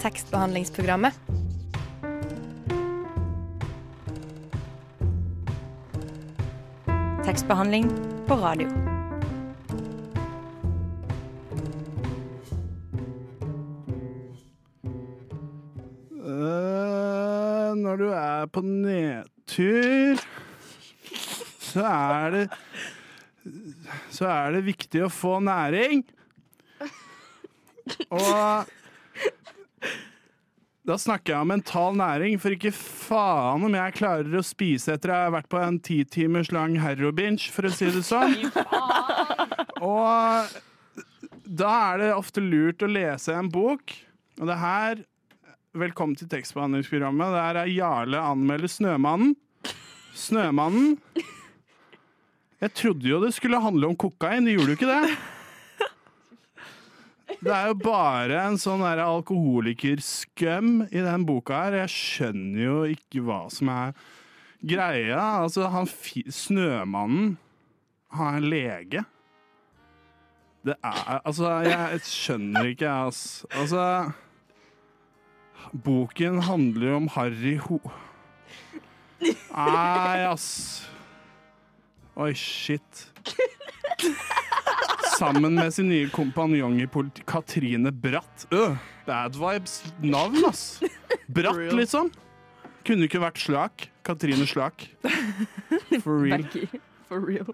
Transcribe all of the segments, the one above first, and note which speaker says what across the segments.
Speaker 1: tekstbehandlingsprogrammet. Tekstbehandling på radio.
Speaker 2: Eh, når du er på nedtur, så er det Så er det viktig å få næring. Og da snakker jeg om mental næring, for ikke faen om jeg klarer å spise etter jeg har vært på en ti timers lang herobinch, for å si det sånn. Og da er det ofte lurt å lese en bok, og det her Velkommen til tekstbehandlingsprogrammet. Der er Jarle anmelder Snømannen. Snømannen. Jeg trodde jo det skulle handle om kokain, det gjorde jo ikke det. Det er jo bare en sånn der alkoholikerskum i den boka her. Jeg skjønner jo ikke hva som er greia. Altså, han fi Snømannen har en lege. Det er Altså, jeg skjønner ikke, jeg, altså. Altså Boken handler jo om Harry Ho... Nei, ass. Oi, shit. Sammen med sin nye kompanjong i politi... Katrine Bratt. Øh, bad vibes navn, ass. Bratt,
Speaker 3: Real.
Speaker 2: liksom. Kunne ikke vært Slak. Katrine Slak. For real.
Speaker 3: For real.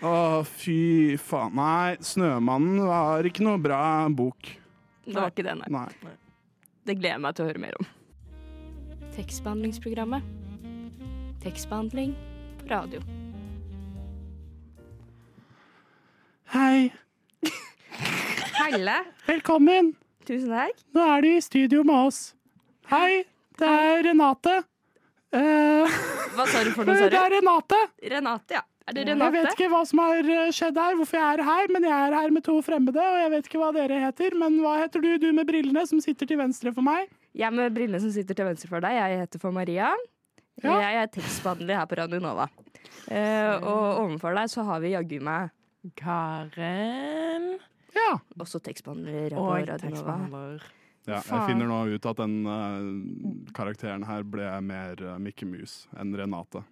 Speaker 2: Å, fy faen. Nei, 'Snømannen' var ikke noe bra bok.
Speaker 3: Det var ikke det, nei.
Speaker 2: Nei.
Speaker 3: Det gleder jeg meg til å høre mer om.
Speaker 4: Tekstbehandlingsprogrammet. Tekstbehandling på radio.
Speaker 2: Hei,
Speaker 3: Helle,
Speaker 2: velkommen.
Speaker 3: tusen takk.
Speaker 2: Nå er du i studio med oss. Hei, det er Renate. Eh,
Speaker 3: Hva sa du for noe,
Speaker 2: det
Speaker 3: sa du?
Speaker 2: er Renate.
Speaker 3: Renate, ja. Er det
Speaker 2: Jeg vet
Speaker 3: Renate?
Speaker 2: ikke hva som har eh, skjedd her, hvorfor jeg er her, men jeg er her med to fremmede, og jeg vet ikke hva dere heter. Men hva heter du, du med brillene, som sitter til venstre for meg?
Speaker 3: Jeg med brillene som sitter til venstre for deg, jeg heter for Maria.
Speaker 2: Ja.
Speaker 3: Jeg er tekstbehandler her på Radio Nova. Eh, og overfor deg så har vi jaggu meg
Speaker 5: Karen
Speaker 2: Ja.
Speaker 3: også tekstbehandler her på
Speaker 5: og
Speaker 3: Radio Nova.
Speaker 5: tekstbehandler.
Speaker 2: jeg finner nå ut at den eh, karakteren her ble mer Mikke Mus enn Renate.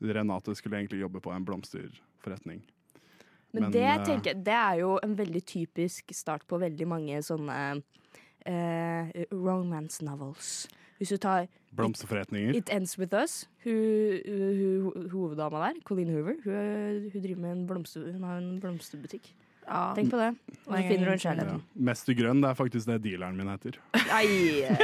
Speaker 2: Renate skulle egentlig jobbe på en blomsterforretning.
Speaker 3: Men,
Speaker 2: Men,
Speaker 3: det,
Speaker 2: eh,
Speaker 3: tenker, jeg- det er jo en veldig typisk start på veldig mange sånne eh, romance novels. Hvis du tar
Speaker 2: Blomsterforretninger.
Speaker 3: It Ends With Us, hun, hun, hun, hoveddama der, Colleen Hoover, hun, hun driver med en, blomster, hun har en blomsterbutikk.
Speaker 5: Ja.
Speaker 3: Tenk på det. Og så
Speaker 5: Nei,
Speaker 3: finner du en
Speaker 5: jeg-
Speaker 3: kjærlighet.
Speaker 2: Mester Grønn, det er faktisk det dealeren min heter.
Speaker 3: Nei!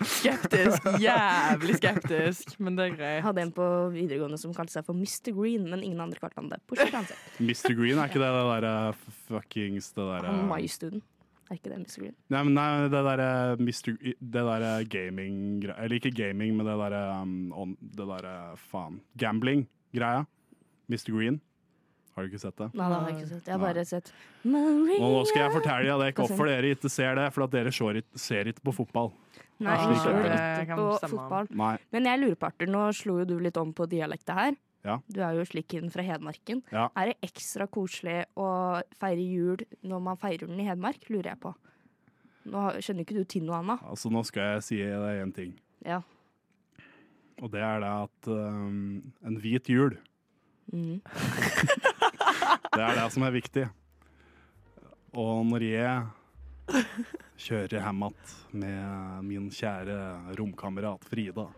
Speaker 5: Skeptisk. Jævlig skeptisk, men det er greit.
Speaker 3: Jeg hadde en på videregående som kalte seg for Mr. Green, men ingen andre kalte han det. Bortsett fra han selv.
Speaker 2: Mr. Green, er ikke det det derre fuckings det derre
Speaker 3: Han Mai-studien. Er ikke det Mr. Green?
Speaker 2: Nei, men nei, det derre Mr. Gr- Det derre gaming Eller ikke gaming, men det derre um, on- Det derre faen. Gambling-greia. Mr. Green. Har du ikke sett det?
Speaker 3: Nei, det har jeg ikke sett. Jeg har
Speaker 2: Nei.
Speaker 3: bare sett
Speaker 2: Og nå skal jeg fortelle deg det er ikke
Speaker 3: Hva sier
Speaker 2: hvorfor dere ikke ser det, for at dere ser ikke- ser ikke på fotball.
Speaker 3: Nei,
Speaker 2: Ah,
Speaker 3: jeg
Speaker 2: det
Speaker 3: tror ikke
Speaker 5: kan
Speaker 3: på
Speaker 5: stemme.
Speaker 3: fotball.
Speaker 2: Nei.
Speaker 3: Men jeg lurer på, Arthur, nå slo jo du litt om på dialekta her.
Speaker 2: Ja.
Speaker 3: Du er jo slikken fra Hedmarken.
Speaker 2: Ja.
Speaker 3: Er det ekstra koselig å feire jul når man feirer den i Hedmark, lurer jeg på. Nå har- skjønner ikke du til noe annet.
Speaker 2: Altså, nå skal jeg si deg én ting.
Speaker 3: Ja.
Speaker 2: Og det er det at um, En hvit jul,
Speaker 3: Mm.
Speaker 2: det er det som er viktig. Og når jeg kjører hjem igjen med min kjære romkamerat Frida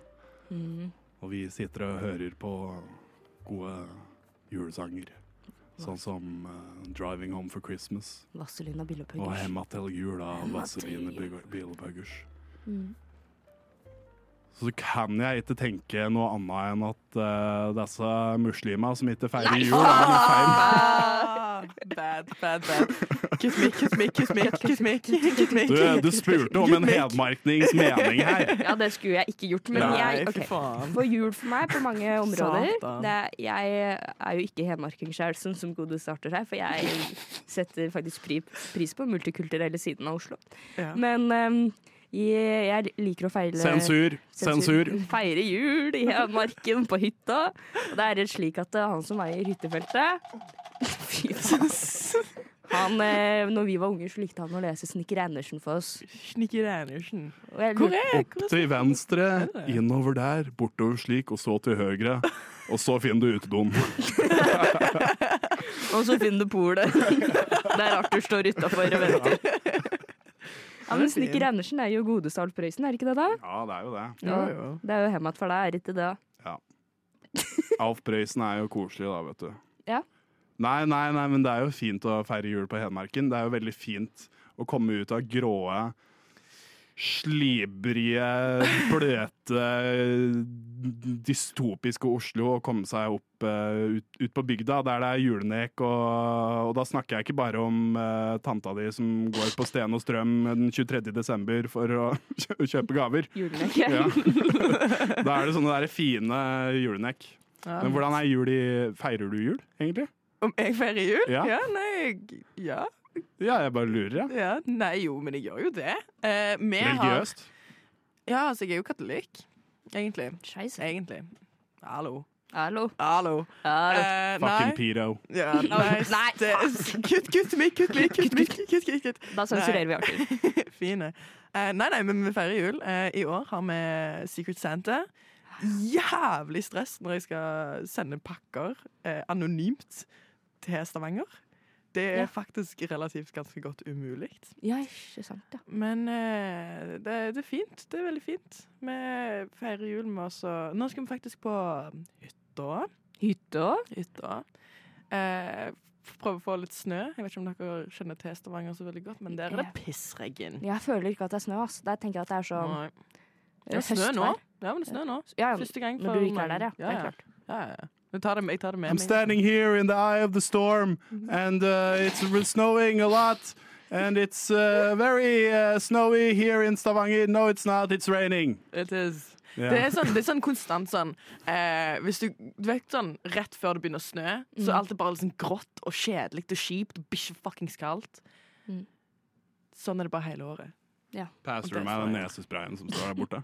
Speaker 3: Mm.
Speaker 2: Og vi sitter og hører på gode julesanger. Sånn som eh, 'Driving Home for Christmas'
Speaker 3: Vazelina
Speaker 2: og
Speaker 3: Billepuggers.
Speaker 2: 'Hemma til jul' av
Speaker 3: Hemma
Speaker 2: Vaseline
Speaker 3: til
Speaker 2: Bielbergers.
Speaker 3: Mm.
Speaker 2: Så kan jeg ikke tenke noe annet enn at eh, disse muslima som ikke feirer
Speaker 3: Nei,
Speaker 2: jul, er noe feil.
Speaker 5: Ah, bad, bad, bad. Kiss me, kiss me, kiss me, kiss me. Kiss me.
Speaker 2: Du, eh, du spurte om en hedmarknings mening her.
Speaker 3: Ja, det skulle jeg ikke gjort, men
Speaker 5: Nei,
Speaker 3: jeg
Speaker 5: fy
Speaker 3: ok.
Speaker 5: faen.
Speaker 3: For jul for meg på mange områder.
Speaker 5: Satan.
Speaker 3: Det, er- jeg er jo ikke hedmarking sjøl, sånn som Gode starter her, for jeg setter faktisk pri, pris på den multikulturelle siden av Oslo.
Speaker 5: Ja.
Speaker 3: Men ehm, jeg, jeg liker å feile
Speaker 2: Sensur.
Speaker 3: sensur.
Speaker 2: Sensur.
Speaker 3: Feire jul i Hedmarken på hytta. Og det er rett slik at eh, han som eier hyttefeltet Fy faen. Han, eh, når vi var unger, så likte han å lese Snikker Andersen for oss.
Speaker 5: Snikker Andersen.
Speaker 3: Og jeg
Speaker 5: Hvor
Speaker 3: lurer-
Speaker 5: er
Speaker 2: Opp til venstre, innover der, bortover slik, og så til høyre. Og så finner du utedoen.
Speaker 6: Og så finner du polet. Der Arthur står utafor og venter.
Speaker 3: Ja, men Snikker Andersen er jo godeste Alf Prøysen, er det ikke det da?
Speaker 2: Ja, det er jo det.
Speaker 5: Ja, ja.
Speaker 3: Det er jo hjemmet for deg, er det ikke det?
Speaker 2: Alf Prøysen er jo koselig, da, vet du.
Speaker 3: Ja.
Speaker 2: Nei, nei, nei, men det er jo fint å feire jul på Hedmarken. Det er jo veldig fint å komme ut av gråe, slibrige, bløte, dystopiske Oslo og komme seg opp eh, ut, ut på bygda, der det er julenek. Og, og da snakker jeg ikke bare om eh, tanta di som går på Sten og Strøm den 23. desember for å kjø- kjøpe gaver.
Speaker 3: Julenekke.
Speaker 2: Ja. Da er det sånne der fine julenek.
Speaker 5: Ja.
Speaker 2: Men hvordan er jul i Feirer du jul, egentlig?
Speaker 5: Om jeg feirer jul?
Speaker 2: Ja.
Speaker 5: nei, jeg, ja,
Speaker 2: Ja, jeg bare lurer, jeg.
Speaker 5: ja. Nei, jo, men jeg gjør jo det. Eh, vi Har,
Speaker 2: Religiøst.
Speaker 5: ja, altså, jeg er jo katolikk. Egentlig.
Speaker 6: Scheisse.
Speaker 5: Egentlig. Hallo.
Speaker 6: Hallo.
Speaker 5: Hallo.
Speaker 6: Hallo.
Speaker 5: Eh,
Speaker 2: Fucking
Speaker 5: nei.
Speaker 2: pyro.
Speaker 5: Ja, nei.
Speaker 6: Nei,
Speaker 5: det- Kutt, kutt meg, kutt meg, kutt meg. Kutt, kutt, kutt.
Speaker 6: Da sensurerer vi Arthur.
Speaker 5: Fine. Eh, nei, nei, men vi feirer jul. Eh, I år har vi Secret Santa. Jævlig stress når jeg skal sende pakker eh, anonymt til Stavanger. Det er
Speaker 3: Ja.
Speaker 5: faktisk relativt ganske godt umulig.
Speaker 3: Ja, ikke sant, ja.
Speaker 5: Men eh, det, det er fint. Det er veldig fint. Vi feirer jul med oss og Nå skal vi faktisk på um, hytta.
Speaker 3: Hytta?
Speaker 5: hytta. Eh, prøve å få litt snø. Jeg vet ikke om dere kjenner til Stavanger så veldig godt, men der er det pissregn.
Speaker 3: Jeg føler ikke at det er snø, ass. Der tenker jeg at det er sånn
Speaker 5: Nei.
Speaker 3: eh,
Speaker 5: Det er snø nå.
Speaker 3: høstvær.
Speaker 5: Ja, men det er snø nå.
Speaker 3: Ja,
Speaker 5: Første gang
Speaker 3: når du ikke er der, ja. Det er klart.
Speaker 5: ja, ja. Jeg tar det med, jeg tar det med
Speaker 2: I'm standing here in the eye of the storm, and uh, it's re- snowing a lot. And it's uh, very uh, snowy here in Stavanger. No, it's not. It's raining.
Speaker 5: It is.
Speaker 2: Ja.
Speaker 5: Det, er sånn, det er sånn konstant sånn eh, Hvis du, du vet sånn rett før det begynner å snø,
Speaker 3: Mm.
Speaker 5: så er alt bare liksom grått og kjedelig og kjipt og bikkje fuckings kaldt.
Speaker 3: Mm.
Speaker 5: Sånn er det bare hele året.
Speaker 2: Passer du meg den nesesprayen som står der borte?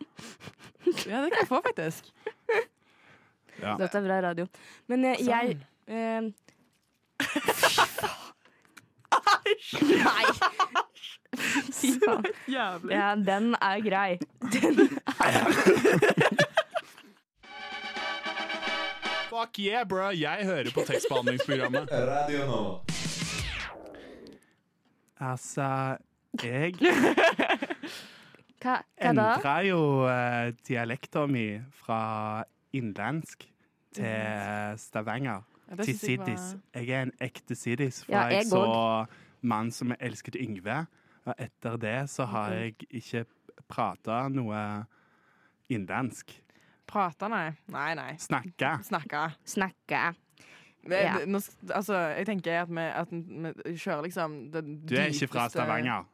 Speaker 5: Ja, det kan jeg få, faktisk.
Speaker 2: Ja.
Speaker 3: Dette er bra radio. Men eh, jeg
Speaker 5: Sånn.
Speaker 3: eh, Fy faen.
Speaker 5: Jævlig.
Speaker 3: Ja, den er grei.
Speaker 2: Fuck yeah, bro! Jeg hører på tekstbehandlingsprogrammet.
Speaker 7: Radio Nova.
Speaker 2: Altså, jeg
Speaker 3: Hva, hva da?
Speaker 2: endra jo uh, dialekta mi fra innlandsk til Stavanger.
Speaker 5: Ja, det
Speaker 2: til
Speaker 5: synes jeg var-
Speaker 2: siddis. Jeg er en ekte siddis, for
Speaker 3: Ja,
Speaker 2: jeg,
Speaker 3: jeg
Speaker 2: så Mann som jeg elsket Yngve. Og etter det så har jeg ikke prata noe innlandsk.
Speaker 5: Prate, nei. Nei, nei.
Speaker 2: Snakka.
Speaker 5: Snakke.
Speaker 3: Snakke.
Speaker 5: Det,
Speaker 3: Ja.
Speaker 5: det, nå, sk- altså, jeg tenker at vi, at vi kjører liksom den
Speaker 2: Du er ikke fra
Speaker 5: dypeste-
Speaker 2: Stavanger.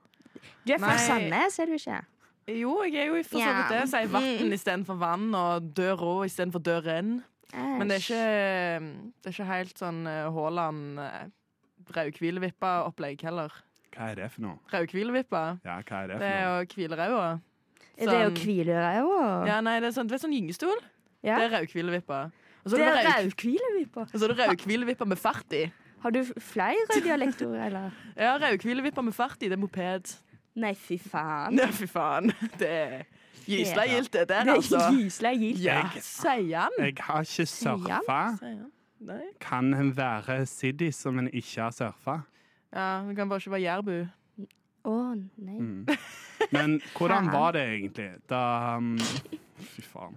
Speaker 3: Du er fra
Speaker 5: Nei.
Speaker 3: Sandnes, er du ikke?
Speaker 5: Jo, jeg er jo for så
Speaker 3: Ja. Mm.
Speaker 5: vidt det. Sier vann istedenfor vann, og dørå istedenfor døren. Men det er ikke, det er ikke helt sånn eh, Haaland eh, Raudhvilevippa-opplegg heller.
Speaker 2: Hva er det for noe?
Speaker 5: Raudhvilevippa,
Speaker 2: Ja, hva er det
Speaker 5: det
Speaker 2: for
Speaker 5: er
Speaker 2: noe?
Speaker 5: å hvile ræva.
Speaker 3: Er Det er jo
Speaker 5: Sånn-
Speaker 3: Kviløya òg.
Speaker 5: Ja, nei, det er sånn, du vet sånn gyngestol?
Speaker 3: Ja.
Speaker 5: Det er raudhvilevippa. Og så
Speaker 3: Det
Speaker 5: er
Speaker 3: er
Speaker 5: det rauk-
Speaker 3: Rauhvile vi på.
Speaker 5: og så er det raudhvilevippa med fart i.
Speaker 3: Har du f- flere dialektord, eller?
Speaker 5: Ja, raudhvilevippa med fart i, det er moped.
Speaker 3: Nei, fy faen.
Speaker 5: Nei, fy faen. Det er gysla gildt, det der,
Speaker 3: Det
Speaker 5: altså.
Speaker 3: er gyselig gildt.
Speaker 5: Ja, sier han.
Speaker 2: Jeg har ikke surfa.
Speaker 5: Sier han. Nei.
Speaker 2: Kan en være siddis som en ikke har surfa?
Speaker 5: Ja, du kan bare ikke være jærbu.
Speaker 3: Å, nei.
Speaker 2: Mm. Men hvordan var det egentlig da um, Fy faen.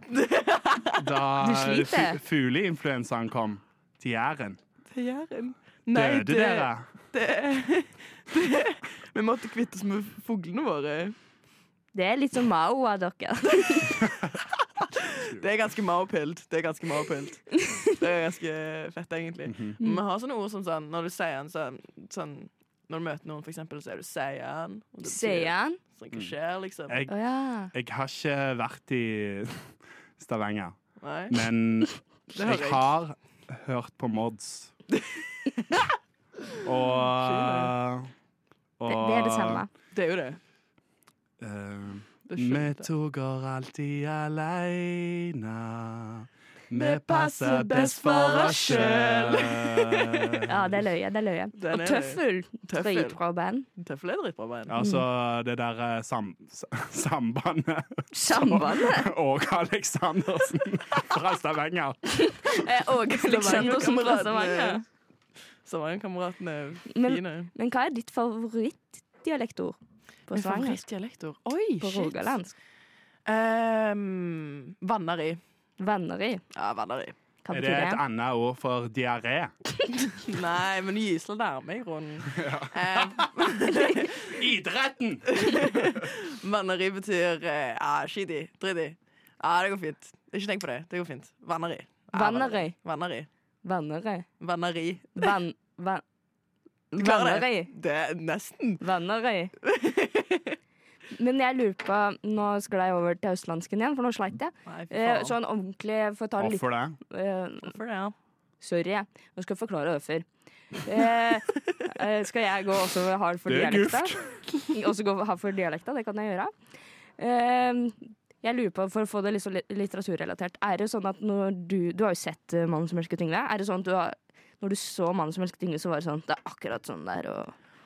Speaker 2: Da
Speaker 3: Du sliter.
Speaker 2: fu- fugleinfluensaen kom til Jæren?
Speaker 5: Til Jæren.
Speaker 2: Døde dere?
Speaker 5: det, det Vi måtte kvitte oss med fuglene våre.
Speaker 3: Det er litt som Mao av dere.
Speaker 5: Det er ganske maopilt. Det er ganske maopilt. Det er ganske fett, egentlig.
Speaker 2: Mhm.
Speaker 5: Vi har sånne ord som sånn Når du sier han sånn, sånn Når du møter noen, for eksempel, så er du seian. og det betyr
Speaker 3: Sier han.
Speaker 5: Sånn, hva skjer, liksom?
Speaker 2: Jeg
Speaker 3: Å ja.
Speaker 2: Jeg har ikke vært i Stavanger,
Speaker 5: Nei.
Speaker 2: men
Speaker 5: hører
Speaker 2: jeg
Speaker 5: jeg.
Speaker 2: har hørt på Mods. Og, og
Speaker 3: Det, det er det samme.
Speaker 5: Det er jo det.
Speaker 2: eh,
Speaker 5: det
Speaker 2: vi
Speaker 5: skjønte jeg.
Speaker 2: to går alltid aleine. Vi passer best for oss sjøl.
Speaker 3: Ja, det løy jeg. Det løy jeg.
Speaker 5: Den
Speaker 3: Og
Speaker 5: er-
Speaker 3: Tøffel.
Speaker 5: Tøffel.
Speaker 3: Dritbra band.
Speaker 5: Tøffel er dritbra band.
Speaker 2: Altså det der eh, sam s- sambandet
Speaker 3: Sambandet.
Speaker 2: og Aleksandersen fra Stavanger.
Speaker 3: Eh, Og Aleksandersen fra Stavanger.
Speaker 5: Stavangerkameratene er
Speaker 3: Men-
Speaker 5: fine.
Speaker 3: Men hva er ditt favorittdialektord på
Speaker 5: Min
Speaker 3: Stavanger?
Speaker 5: favorittdialektor. Oi,
Speaker 3: På
Speaker 5: shit.
Speaker 3: rogalandsk?
Speaker 5: Ehm, vanneri.
Speaker 3: Vanneri.
Speaker 5: Ja, vanneri.
Speaker 3: Hva
Speaker 2: Er det
Speaker 3: betyr
Speaker 2: et
Speaker 3: det?
Speaker 2: annet ord for diaré?
Speaker 5: Nei, men gysla nærme i grunnen. Ehm,
Speaker 2: Idretten!
Speaker 5: vanneri betyr eh, Ja, skit i. Drit i. Ja, det går fint. Ikke tenk på det. Det går fint. Vanneri. Ja,
Speaker 3: Vanneri.
Speaker 5: Vanneri.
Speaker 3: Vanneri.
Speaker 5: Vanneri.
Speaker 3: Vann... Vann...
Speaker 5: Du klarer
Speaker 3: Vanneri.
Speaker 5: det. Det er nesten.
Speaker 3: Vanneri. Men jeg lurer på Nå sklei jeg over til østlandsken igjen, for nå sleit jeg.
Speaker 5: Nei, fy
Speaker 3: Eh,
Speaker 5: faen.
Speaker 3: sånn ordentlig for å ta det litt
Speaker 2: Hvorfor det?
Speaker 3: eh,
Speaker 5: Hvorfor det? ja?
Speaker 3: Sorry, jeg. Nå skal jeg forklare hvorfor. Eh, eh, skal jeg gå også hard for
Speaker 2: Det er
Speaker 3: dialekta? også gå hard for dialekta, det kan jeg gjøre. Eh, jeg lurer på, For å få det litt så li- litteraturrelatert, er det sånn at når du Du har jo sett eh, 'Mannen som elsket Yngve'. Er det sånn at du har når du så 'Mannen som elsket Yngve', så var det sånn Det er akkurat sånn det er å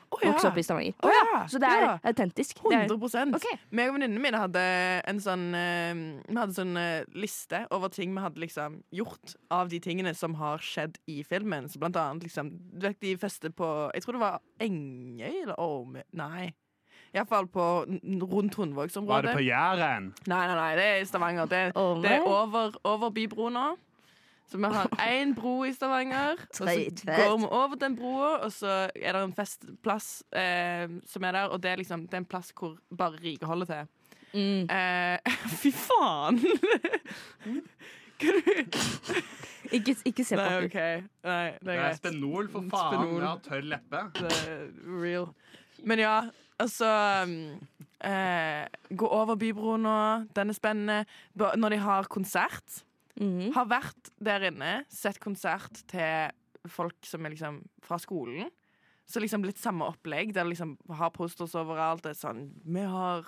Speaker 5: Å, ja.
Speaker 3: vokse opp i Stavanger.
Speaker 5: Å, ja.
Speaker 3: Så det er
Speaker 5: Ja.
Speaker 3: autentisk. Det er,
Speaker 5: 100
Speaker 3: Ok.
Speaker 5: Meg og venninnene mine hadde en sånn eh, Vi hadde sånn eh, liste over ting vi hadde liksom gjort av de tingene som har skjedd i filmen. Så blant annet liksom Du vet de fester på Jeg tror det var Engøy eller Orme... Nei. Iallfall på n-
Speaker 2: Var
Speaker 5: rundt
Speaker 2: det
Speaker 5: Hundvågsområdet.
Speaker 2: på Jæren?
Speaker 5: Nei, nei, nei, det er i Stavanger. Det,
Speaker 3: Orme?
Speaker 5: det er over, over bybro nå. Så vi har én bro i Stavanger. Og så
Speaker 3: Dritfett.
Speaker 5: går vi over den broa, og så er det en festplass eh, som er der. Og det er liksom det er en plass hvor bare rike holder til.
Speaker 3: mm.
Speaker 5: Eh, fy faen! Hva er det?
Speaker 3: ikke, ikke se på
Speaker 5: Nei,
Speaker 3: det.
Speaker 5: OK. Nei, det er greit.
Speaker 2: spenol, for
Speaker 5: Spenol.
Speaker 2: tørr leppe.
Speaker 5: Det er real. Men ja, altså um, eh, Gå over bybroen nå. Den er spennende. Ba- Når de har konsert.
Speaker 3: Mhm.
Speaker 5: Har vært der inne, sett konsert til folk som er liksom fra skolen. Så liksom litt samme opplegg, der de liksom har posters overalt. Det er sånn Vi har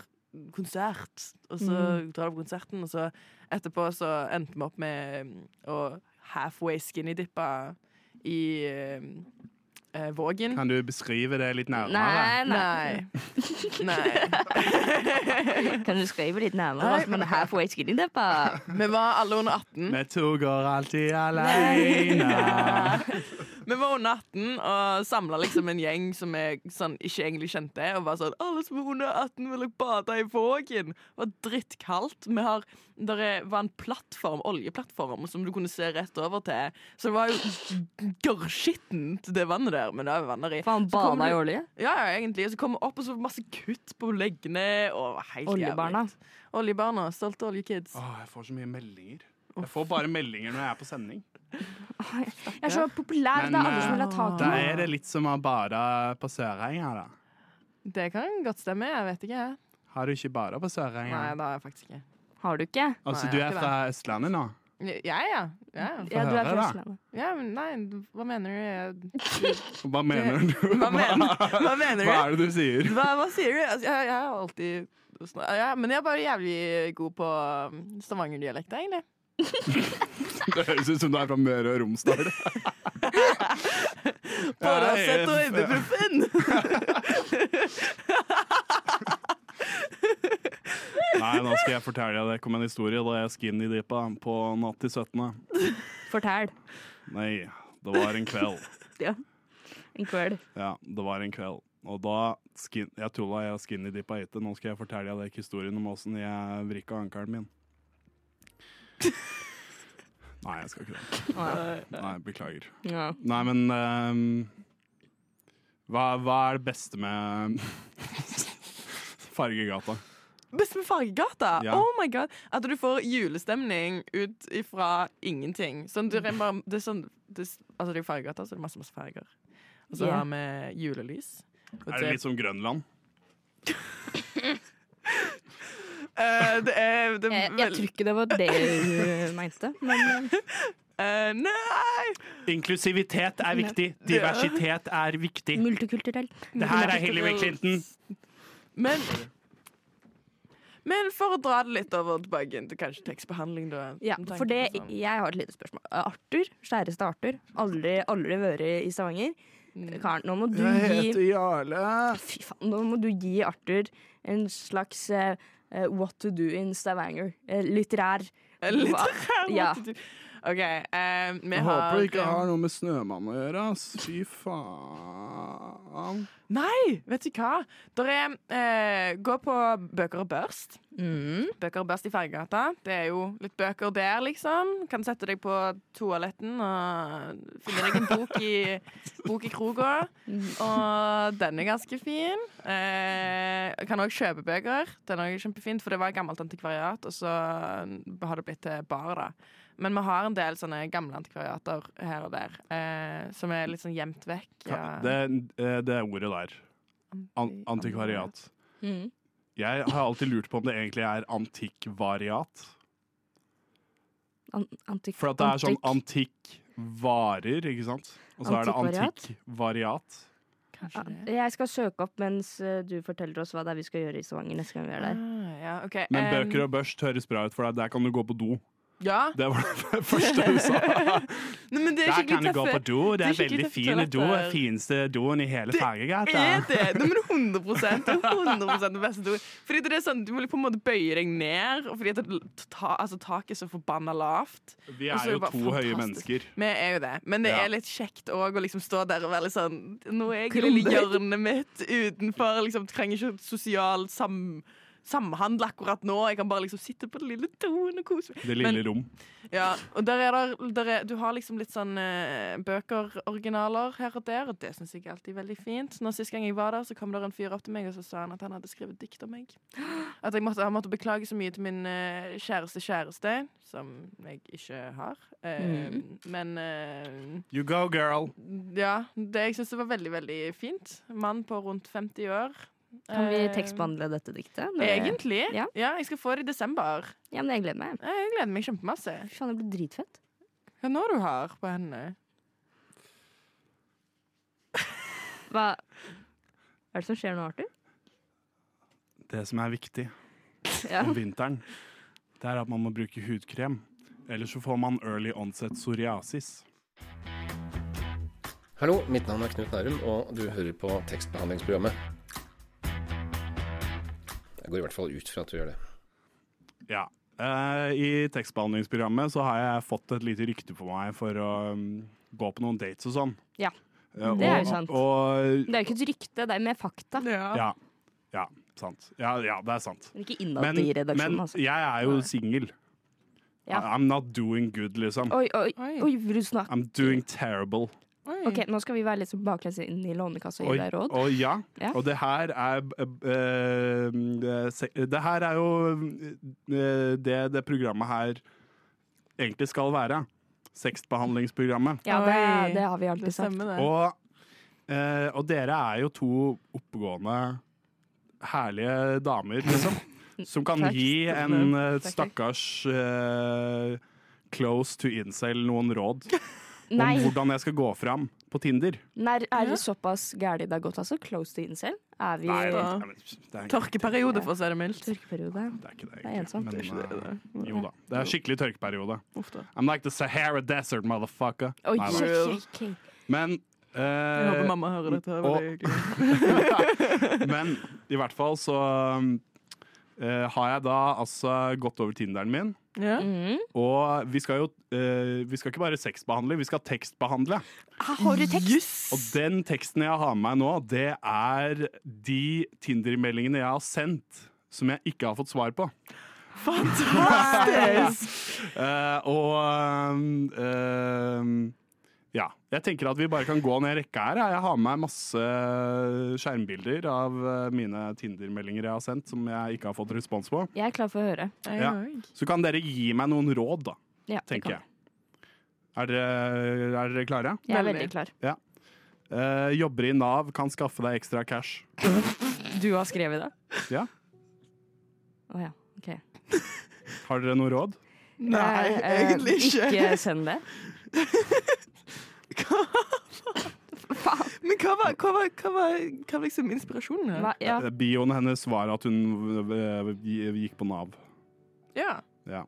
Speaker 5: konsert, og så drar du på konserten, og så etterpå så endte vi opp med um, å halfway skinny-dippe i um, eh, Vågen.
Speaker 2: Kan du beskrive det litt nærmere?
Speaker 3: Nei, nei.
Speaker 5: Nei.
Speaker 3: Kan du skrive litt nærmere hva som er halfway skinny dipper?
Speaker 5: Vi var alle under 18.
Speaker 2: Vi to går alltid aleine.
Speaker 5: Vi var under 18 og samla liksom en gjeng som jeg sånn, ikke egentlig kjente. Og var sånn 'Alle som er under 18, vil dere bade i Vågen?' Det var drittkaldt. Vi har, der er- var en plattform, oljeplattform som du kunne se rett over til. Så det var jo gørrskittent, det vannet der. Men det er jo vannet i.
Speaker 3: Faen,
Speaker 5: Så kom
Speaker 3: bada i
Speaker 5: du-
Speaker 3: olje?
Speaker 5: Ja, ja, egentlig. Og så kom vi opp, og så var det masse kutt på leggene. Og det var helt jævlig.
Speaker 3: Oljebarna.
Speaker 5: Oljebarna. Stolte oljekids.
Speaker 2: Åh, jeg får så mye meldinger. Jeg får bare meldinger når jeg er på sending.
Speaker 3: Jeg er så populær,
Speaker 2: Men,
Speaker 3: det er alle som
Speaker 2: eh,
Speaker 3: vil ha tak i
Speaker 5: Ah.
Speaker 2: Da
Speaker 3: meg.
Speaker 2: er det litt som å bade på Sørenga, da.
Speaker 5: Det kan godt stemme. Jeg vet ikke.
Speaker 2: Har du ikke bada på
Speaker 5: Nei,
Speaker 2: Sørenga?
Speaker 5: det har jeg faktisk ikke.
Speaker 3: Har du ikke?
Speaker 2: Altså,
Speaker 5: nei,
Speaker 2: du
Speaker 5: jeg har
Speaker 2: er
Speaker 5: ikke
Speaker 2: fra Østlandet nå?
Speaker 5: Ja, ja. ja.
Speaker 3: Ja, du er
Speaker 2: høre,
Speaker 3: fra
Speaker 2: da.
Speaker 3: Østlandet.
Speaker 5: ja men nei, hva mener du? Jeg-
Speaker 2: Hva mener du?
Speaker 5: Hva mener, hva mener
Speaker 2: Hva
Speaker 5: du?
Speaker 2: er det du sier?
Speaker 5: Hva, hva sier du? Altså, jeg, jeg er alltid snar- ja, Men jeg er bare jævlig god på um, stavangerdialekt, egentlig.
Speaker 2: Det høres ut som du er fra Møre og Romsdal.
Speaker 5: Paracet og
Speaker 2: jeg-
Speaker 5: Ibuprofen!
Speaker 2: Nei, nå skal jeg fortelle deg om en historie da jeg skinny dippa på natt til 17.
Speaker 3: Fortell.
Speaker 2: Nei, det var en kveld.
Speaker 3: Ja. En kveld.
Speaker 2: Ja, det var en kveld. Og da skin, Jeg tulla jeg skinny dippa etter. Nå skal jeg fortelle deg historien om åssen jeg vrikka ankelen min. Nei, jeg skal ikke det. Nei, beklager.
Speaker 3: Ja.
Speaker 2: Nei, men ehm, hva, hva er det beste med Fargegata?
Speaker 5: Best med Fargegata!
Speaker 2: Ja.
Speaker 5: Oh my god! At du får julestemning ut ifra ingenting. Sånn, du, det, er bare, det, er sånn, det, er- altså, det er jo Fargegata, så det er masse, masse farger. Og så
Speaker 3: Ja.
Speaker 5: har vi julelys. Og
Speaker 2: Er det litt som Grønland?
Speaker 5: Eh, det er, det er
Speaker 3: Jeg, jeg
Speaker 5: vel-
Speaker 3: tror ikke det var det du mente, men eh,
Speaker 5: Eh, nei!
Speaker 2: Inklusivitet er viktig. Diversitet er viktig.
Speaker 3: eh, multikulturell.
Speaker 2: Det her er Hillary Clinton.
Speaker 5: Men Men for å dra det litt over tilbake inn til kanskje tekstbehandling, da.
Speaker 3: Ja,
Speaker 5: med tanke
Speaker 3: for det,
Speaker 5: på sånn-
Speaker 3: jeg har et lite spørsmål. Arthur, kjæreste Arthur, aldri, aldri vært i Stavanger.
Speaker 5: Mm.
Speaker 3: Karen, nå må du
Speaker 2: Jeg
Speaker 3: gi
Speaker 2: heter Jarle.
Speaker 3: Fy faen, nå må du gi Arthur en slags eh, eh, what to do in Stavanger. Eh, litterær.
Speaker 2: Eh,
Speaker 5: Litt
Speaker 3: Hva?
Speaker 5: rart.
Speaker 3: Ja.
Speaker 5: OK. eh, vi
Speaker 2: Jeg
Speaker 5: har
Speaker 2: håper det ikke har noe med Snømann å gjøre, ass. Fy faen.
Speaker 5: Nei, vet du hva? Der er, eh, gå på Bøker og børst.
Speaker 3: Mm.
Speaker 5: Bøker og børst i Fergegata. Det er jo litt bøker der, liksom. Kan sette deg på toaletten og finne deg en bok i, bok i kroga.
Speaker 3: Mm.
Speaker 5: Og den er ganske fin. Eh, jeg kan òg kjøpe bøker. Den er også kjempefin, for det var et gammelt antikvariat, og så har det blitt til bar, da. Men vi har en del sånne gamle antikvariater her og der, eh, som er litt sånn gjemt vekk. ja.
Speaker 2: Det, eh, det ordet der. An antikvariat.
Speaker 3: Mm.
Speaker 2: Jeg har alltid lurt på om det egentlig er antikkvariat.
Speaker 3: An antik
Speaker 2: For at det er sånn
Speaker 3: antik-
Speaker 2: antikkvarer, ikke sant? Og så er det antikkvariat.
Speaker 5: Kanskje det.
Speaker 3: Jeg skal søke opp mens eh, du forteller oss hva det er vi skal gjøre i Stavanger neste gang vi er der.
Speaker 5: Ah, ja, ok.
Speaker 2: Men
Speaker 5: Em,
Speaker 2: bøker og børst høres bra ut, for der kan du gå på do.
Speaker 5: Ja.
Speaker 2: Det var det første du sa.
Speaker 5: Nei, men det er
Speaker 2: Der
Speaker 5: skikkelig
Speaker 2: kan du gå
Speaker 5: tøffe.
Speaker 2: på do. Det
Speaker 5: er
Speaker 2: er veldig
Speaker 5: skikkelig
Speaker 2: fine do.
Speaker 5: toaletter.
Speaker 2: Fineste doen i hele Fergegata.
Speaker 5: Er det? Nei, men 100 det er 100 det beste ordet. Fordi det er sånn, Du må på en måte bøye deg ned, og fordi at det- ta, altså, taket er så forbanna lavt.
Speaker 2: Vi
Speaker 5: Og så
Speaker 2: er jo
Speaker 5: bare
Speaker 2: to høye
Speaker 5: fantastisk.
Speaker 2: mennesker.
Speaker 5: Vi er jo det. Men det
Speaker 2: Ja.
Speaker 5: er litt kjekt òg å liksom stå der og være litt sånn Nå er jeg i lille hjørnet mitt utenfor. liksom Trenger ikke sosial sam, samhandle akkurat nå. Jeg kan bare liksom sitte på den lille doen og kose meg.
Speaker 2: Det
Speaker 5: Men-
Speaker 2: lille rom.
Speaker 5: Ja, og der er der, der er, Du har liksom litt sånn eh, bøkeroriginaler her og der, og det syns jeg alltid er veldig fint. Når Sist gang jeg var der, så kom der en fyr opp til meg og så sa han at han hadde skrevet dikt om meg. At jeg måtte, Han måtte beklage så mye til min eh, kjæreste kjæreste, som jeg ikke har. Eh,
Speaker 3: Mm.
Speaker 5: Men eh,
Speaker 2: You go, girl.
Speaker 5: ja, det, jeg syns det var veldig, veldig fint. Mann på rundt 50 år.
Speaker 3: Kan vi
Speaker 5: Eh,
Speaker 3: tekstbehandle dette diktet? Når jeg-
Speaker 5: Egentlig.
Speaker 3: Ja.
Speaker 5: Ja. jeg skal få det i desember.
Speaker 3: Ja, men jeg gleder meg.
Speaker 5: Eh, Jeg gleder meg kjempemasse.
Speaker 3: Fy faen, det blir dritfett.
Speaker 5: Hva nå du har på hendene?
Speaker 3: Hva er det som skjer nå, Arthur?
Speaker 2: Det som er viktig
Speaker 3: Ja.
Speaker 2: om vinteren, det er at man må bruke hudkrem. Ellers så får man early onset psoriasis.
Speaker 7: Hallo, mitt navn er Knut Nærum, og du hører på tekstbehandlingsprogrammet. Jeg går i hvert fall ut fra at du gjør det.
Speaker 2: Ja. Eh, I tekstbehandlingsprogrammet så har jeg fått et lite rykte på meg for å mm, gå på noen dates og sånn.
Speaker 3: Ja.
Speaker 2: Eh,
Speaker 3: Det er jo
Speaker 2: og-
Speaker 3: sant.
Speaker 2: Og,
Speaker 3: Det er jo ikke et rykte, det er mer fakta.
Speaker 2: ja, ja, sant. Ja, ja, det er sant.
Speaker 3: Men ikke
Speaker 2: Men,
Speaker 3: innad i
Speaker 2: men
Speaker 3: redaksjonen, altså.
Speaker 2: jeg er jo singel.
Speaker 3: Ja.
Speaker 2: I'm not doing good, liksom.
Speaker 3: Oi, oi,
Speaker 5: Oi.
Speaker 3: oi, vil du snakke?
Speaker 2: I'm doing terrible.
Speaker 3: Ok, nå skal vi være litt sånn baklengs inn i lånekassa og
Speaker 2: Oi,
Speaker 3: gi deg råd.
Speaker 2: Og ja,
Speaker 3: Ja.
Speaker 2: og det her er eh, eh, se- Det her er jo eh, det det programmet her egentlig skal være. Sexbehandlingsprogrammet.
Speaker 3: Ja, det,
Speaker 5: Oi.
Speaker 3: det har vi alltid
Speaker 5: Det
Speaker 3: sagt.
Speaker 5: stemmer, det.
Speaker 2: Og, eh, og dere er jo to oppegående, herlige damer, liksom. Som kan
Speaker 3: Takk.
Speaker 2: gi en eh,
Speaker 5: Takk, takk.
Speaker 2: stakkars eh, close to incel noen råd
Speaker 3: Nei,
Speaker 2: om hvordan jeg skal gå fram på Tinder.
Speaker 3: nei, er
Speaker 5: Ja.
Speaker 3: det såpass gærent det har gått, altså? Close to incel? Er vi
Speaker 2: Nei,
Speaker 3: i
Speaker 2: det,
Speaker 5: Ja.
Speaker 2: det, er,
Speaker 5: Tørkeperiode, for å si det mildt.
Speaker 3: tørkeperiode?
Speaker 2: det er ikke det.
Speaker 3: er
Speaker 2: egentlig,
Speaker 3: ensomt.
Speaker 2: men,
Speaker 5: Det er ikke det,
Speaker 2: eh,
Speaker 5: det.
Speaker 2: Jo da. Det er skikkelig tørkeperiode.
Speaker 5: Uff da.
Speaker 2: I'm like the Sahara Desert, motherfucker.
Speaker 3: Oi,
Speaker 2: Nei,
Speaker 3: shit,
Speaker 2: nei.
Speaker 5: Real.
Speaker 3: shit, shit.
Speaker 2: Men
Speaker 5: Jeg
Speaker 2: eh,
Speaker 5: håper mamma hører dette. her,
Speaker 2: og-
Speaker 5: veldig hyggelig.
Speaker 2: eh, Men i hvert fall så eh, har jeg da altså gått over Tinderen min.
Speaker 5: Ja.
Speaker 3: Mm.
Speaker 2: Og vi skal jo eh, Vi skal ikke bare sexbehandle, vi skal tekstbehandle.
Speaker 3: Har du tekst?
Speaker 2: Og den teksten jeg har med meg nå, det er de Tinder-meldingene jeg har sendt som jeg ikke har fått svar på.
Speaker 5: Fantastisk!
Speaker 2: Eh, og ehm, ehm, ja. Jeg tenker at vi bare kan gå ned rekka her. Jeg Jeg har med meg masse skjermbilder av eh, mine Tinder-meldinger jeg har sendt, som jeg ikke har fått respons på.
Speaker 3: Jeg er klar for å høre.
Speaker 5: Jeg
Speaker 2: Ja.
Speaker 5: òg.
Speaker 2: Så kan dere gi meg noen råd, da,
Speaker 3: Ja, det
Speaker 2: tenker
Speaker 3: kan
Speaker 2: jeg. Er dere, er dere klare?
Speaker 3: Jeg er
Speaker 5: Veldig.
Speaker 3: veldig klar.
Speaker 2: Eh, jobber i Nav, kan skaffe deg ekstra cash.
Speaker 3: Du har skrevet det?
Speaker 2: Ja.
Speaker 3: Å ja. OK.
Speaker 2: Har dere noe råd?
Speaker 5: Nei,
Speaker 3: Eh, eh,
Speaker 5: egentlig ikke.
Speaker 3: Ikke send det. Faen.
Speaker 5: Men hva var, hva var, hva var, hva var liksom inspirasjonen her?
Speaker 3: Hva, ja.
Speaker 2: Eh, Bioen hennes var at hun eh, gikk på Nav.
Speaker 5: Ja.
Speaker 2: Ja.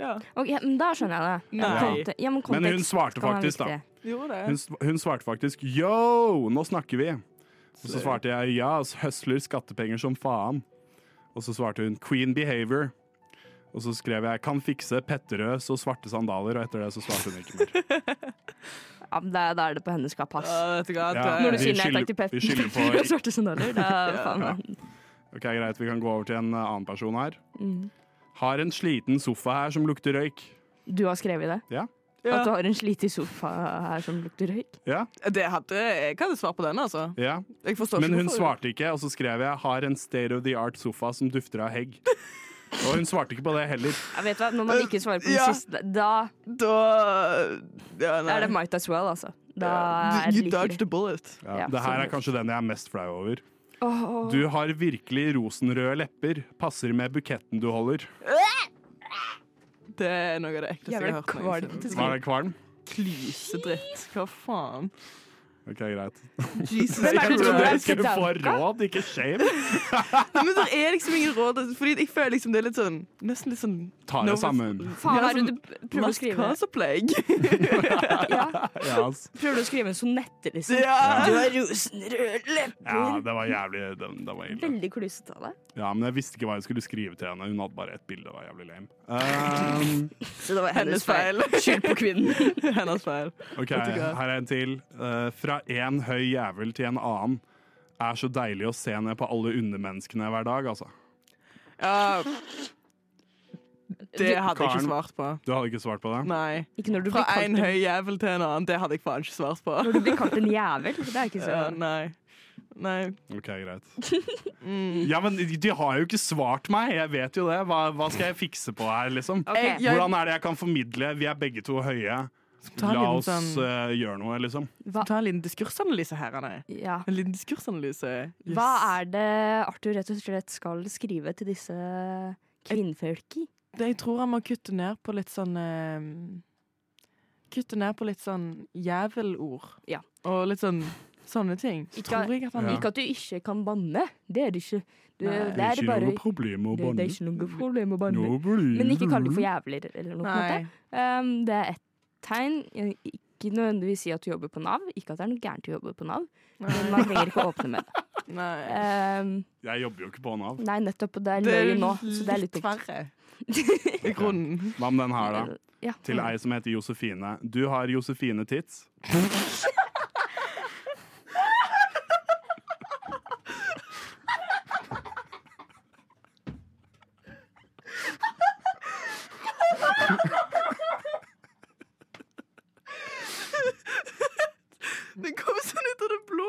Speaker 5: ja.
Speaker 3: Ok, men da skjønner jeg det.
Speaker 5: Nei.
Speaker 3: Konte- Ja, men,
Speaker 2: Men
Speaker 3: kontekst
Speaker 2: hun svarte
Speaker 3: kan være
Speaker 2: faktisk, da.
Speaker 3: viktig.
Speaker 5: Gjorde det.
Speaker 2: Hun, sv- hun svarte faktisk 'yo, nå snakker vi'. Og så svarte jeg 'ja, ass, høsler skattepenger som faen'. Og så svarte hun 'queen behavior'. Og så skrev jeg 'kan fikse Petterøes og svarte sandaler', og etter det så svarte hun ikke mer.
Speaker 3: Ja, men da, da er det på hennes kapp, ass.
Speaker 5: Ja, vet du hva? eh,
Speaker 2: Ja,
Speaker 5: det-
Speaker 3: Når du
Speaker 2: vi
Speaker 3: sier nei
Speaker 2: skylder-
Speaker 3: takk til
Speaker 2: vi skylder
Speaker 3: Petter
Speaker 2: på-
Speaker 3: og svarte sandaler, da faen meg.
Speaker 2: Ok, Greit, vi kan gå over til en eh, annen person her.
Speaker 3: Mm.
Speaker 2: Har en sliten sofa her som lukter røyk.
Speaker 3: Du har skrevet det?
Speaker 2: Ja.
Speaker 5: Ja.
Speaker 3: At du har en slitig sofa her som lukter røyk?
Speaker 2: Ja,
Speaker 5: Det hadde, jeg hadde svart på den, altså.
Speaker 2: ja.
Speaker 5: Jeg forstår
Speaker 2: Men
Speaker 5: ikke
Speaker 2: hun
Speaker 5: hvorfor-
Speaker 2: svarte ikke, og så skrev jeg 'har en state of the art sofa som dufter av hegg'. Og hun svarte ikke på det heller.
Speaker 3: Jeg vet hva, Når man ikke svarer på den
Speaker 5: Ja.
Speaker 3: siste, da
Speaker 5: Da ja, nei.
Speaker 3: er det might as well, altså. Da
Speaker 5: Ja.
Speaker 3: er
Speaker 5: You
Speaker 3: det
Speaker 5: you
Speaker 3: like
Speaker 5: dodged
Speaker 3: greit.
Speaker 5: a bullet.
Speaker 2: Ja,
Speaker 3: Ja,
Speaker 2: det her
Speaker 3: sånn.
Speaker 2: er kanskje den jeg er mest flau over.
Speaker 3: Åh, åh.
Speaker 2: Du har virkelig rosenrøde lepper. Passer med buketten du holder.
Speaker 5: Det er noe av det ekleste jeg
Speaker 3: Jævla
Speaker 5: har hørt. noensinne.
Speaker 3: kvalmt.
Speaker 2: Var det kvalm?
Speaker 5: Klysedritt. Hva faen?
Speaker 2: OK, greit.
Speaker 5: Jesus
Speaker 2: Jeg
Speaker 3: du
Speaker 2: trodde
Speaker 3: tror
Speaker 2: jeg
Speaker 3: er
Speaker 2: skulle få
Speaker 3: danka?
Speaker 2: råd, ikke shame.
Speaker 5: Men det er liksom ingen råd. Fordi jeg føler liksom det er litt sånn Nesten litt sånn
Speaker 2: Ta det sammen.
Speaker 3: Faen,
Speaker 5: Ja,
Speaker 3: hva er det
Speaker 5: sånn
Speaker 3: du prøver å skrive?
Speaker 5: Plastkaseopplegg.
Speaker 3: Ja.
Speaker 2: Ja, altså. ass.
Speaker 3: Prøver du å skrive en sonette, liksom?
Speaker 5: Ja.
Speaker 3: Du har rosenrød
Speaker 2: ja,
Speaker 3: lepper.
Speaker 2: det var jævlig det, det var ille.
Speaker 3: Veldig klysete av deg.
Speaker 2: Ja, Men jeg visste ikke hva jeg skulle skrive til henne. Hun hadde bare ett bilde. Det var jævlig lame. Um,
Speaker 3: Så det var
Speaker 5: Hennes
Speaker 3: hennes feil.
Speaker 5: feil.
Speaker 3: Skyld på kvinnen.
Speaker 5: Hennes feil.
Speaker 2: OK,
Speaker 5: Vet du hva?
Speaker 2: her er en til. Eh, fra en høy jævel til en annen. Er så deilig å se ned på alle undermenneskene hver dag, altså.
Speaker 5: Ja. Det hadde jeg
Speaker 2: Karen.
Speaker 5: ikke svart på.
Speaker 2: Du hadde ikke svart på det?
Speaker 5: Nei.
Speaker 3: Ikke når du
Speaker 5: Fra
Speaker 3: blir kalt
Speaker 5: en
Speaker 3: en,
Speaker 5: høy jævel til en annen. Det hadde jeg faen ikke svart på.
Speaker 3: når du blir kalt en jævel. Det sånn. er ikke så
Speaker 5: Ja, nei. Nei. Mm.
Speaker 2: OK, greit. Ja, men de har jo ikke svart meg. Jeg vet jo det. Hva, hva skal jeg fikse på her, liksom?
Speaker 3: Ok.
Speaker 5: Jeg- jeg-
Speaker 2: Hvordan er det jeg kan formidle? Vi er begge to høye.
Speaker 5: Ta en
Speaker 2: La
Speaker 5: liten
Speaker 2: oss
Speaker 5: sånn-
Speaker 2: eh, gjøre noe, liksom.
Speaker 3: Hva,
Speaker 5: Ta en liten diskursanalyse her, Anne.
Speaker 3: ja.
Speaker 5: En liten diskursanalyse. Yes.
Speaker 3: Hva er det Arthur rett og slett skal skrive til disse kvinnfolki?
Speaker 5: Det- Jeg tror han må kutte ned på litt sånn eh, Kutte ned på litt sånn jævelord.
Speaker 3: Ja.
Speaker 5: Og litt sånn sånne ting. Så
Speaker 3: Ikke-
Speaker 5: tror jeg at han
Speaker 2: Ja.
Speaker 5: liker
Speaker 3: Ikke at du ikke kan banne. Det er det ikke. Du,
Speaker 5: Nei.
Speaker 3: det er bare det,
Speaker 2: problem å
Speaker 3: det er ikke noe problem å banne.
Speaker 2: Nå blir
Speaker 3: Men ikke kall det for
Speaker 2: det-
Speaker 3: jævler eller noe. på en måte. Um, det er ett tegn. Ikke nødvendigvis si at du jobber på Nav. Ikke at det er noe gærent å jobbe på Nav, men
Speaker 5: Nei.
Speaker 3: man trenger ikke å åpne med det.
Speaker 5: Nei.
Speaker 3: Um,
Speaker 2: Jeg jobber jo ikke på Nav.
Speaker 3: nei, nettopp. og Det er løye nå, så det er litt dumt.
Speaker 5: verre. I grunnen.
Speaker 2: Hva med den her, da?
Speaker 3: Ja.
Speaker 2: Til ei som heter Josefine. Du har Josefine Tits.
Speaker 5: Det kom sånn ut av det blå.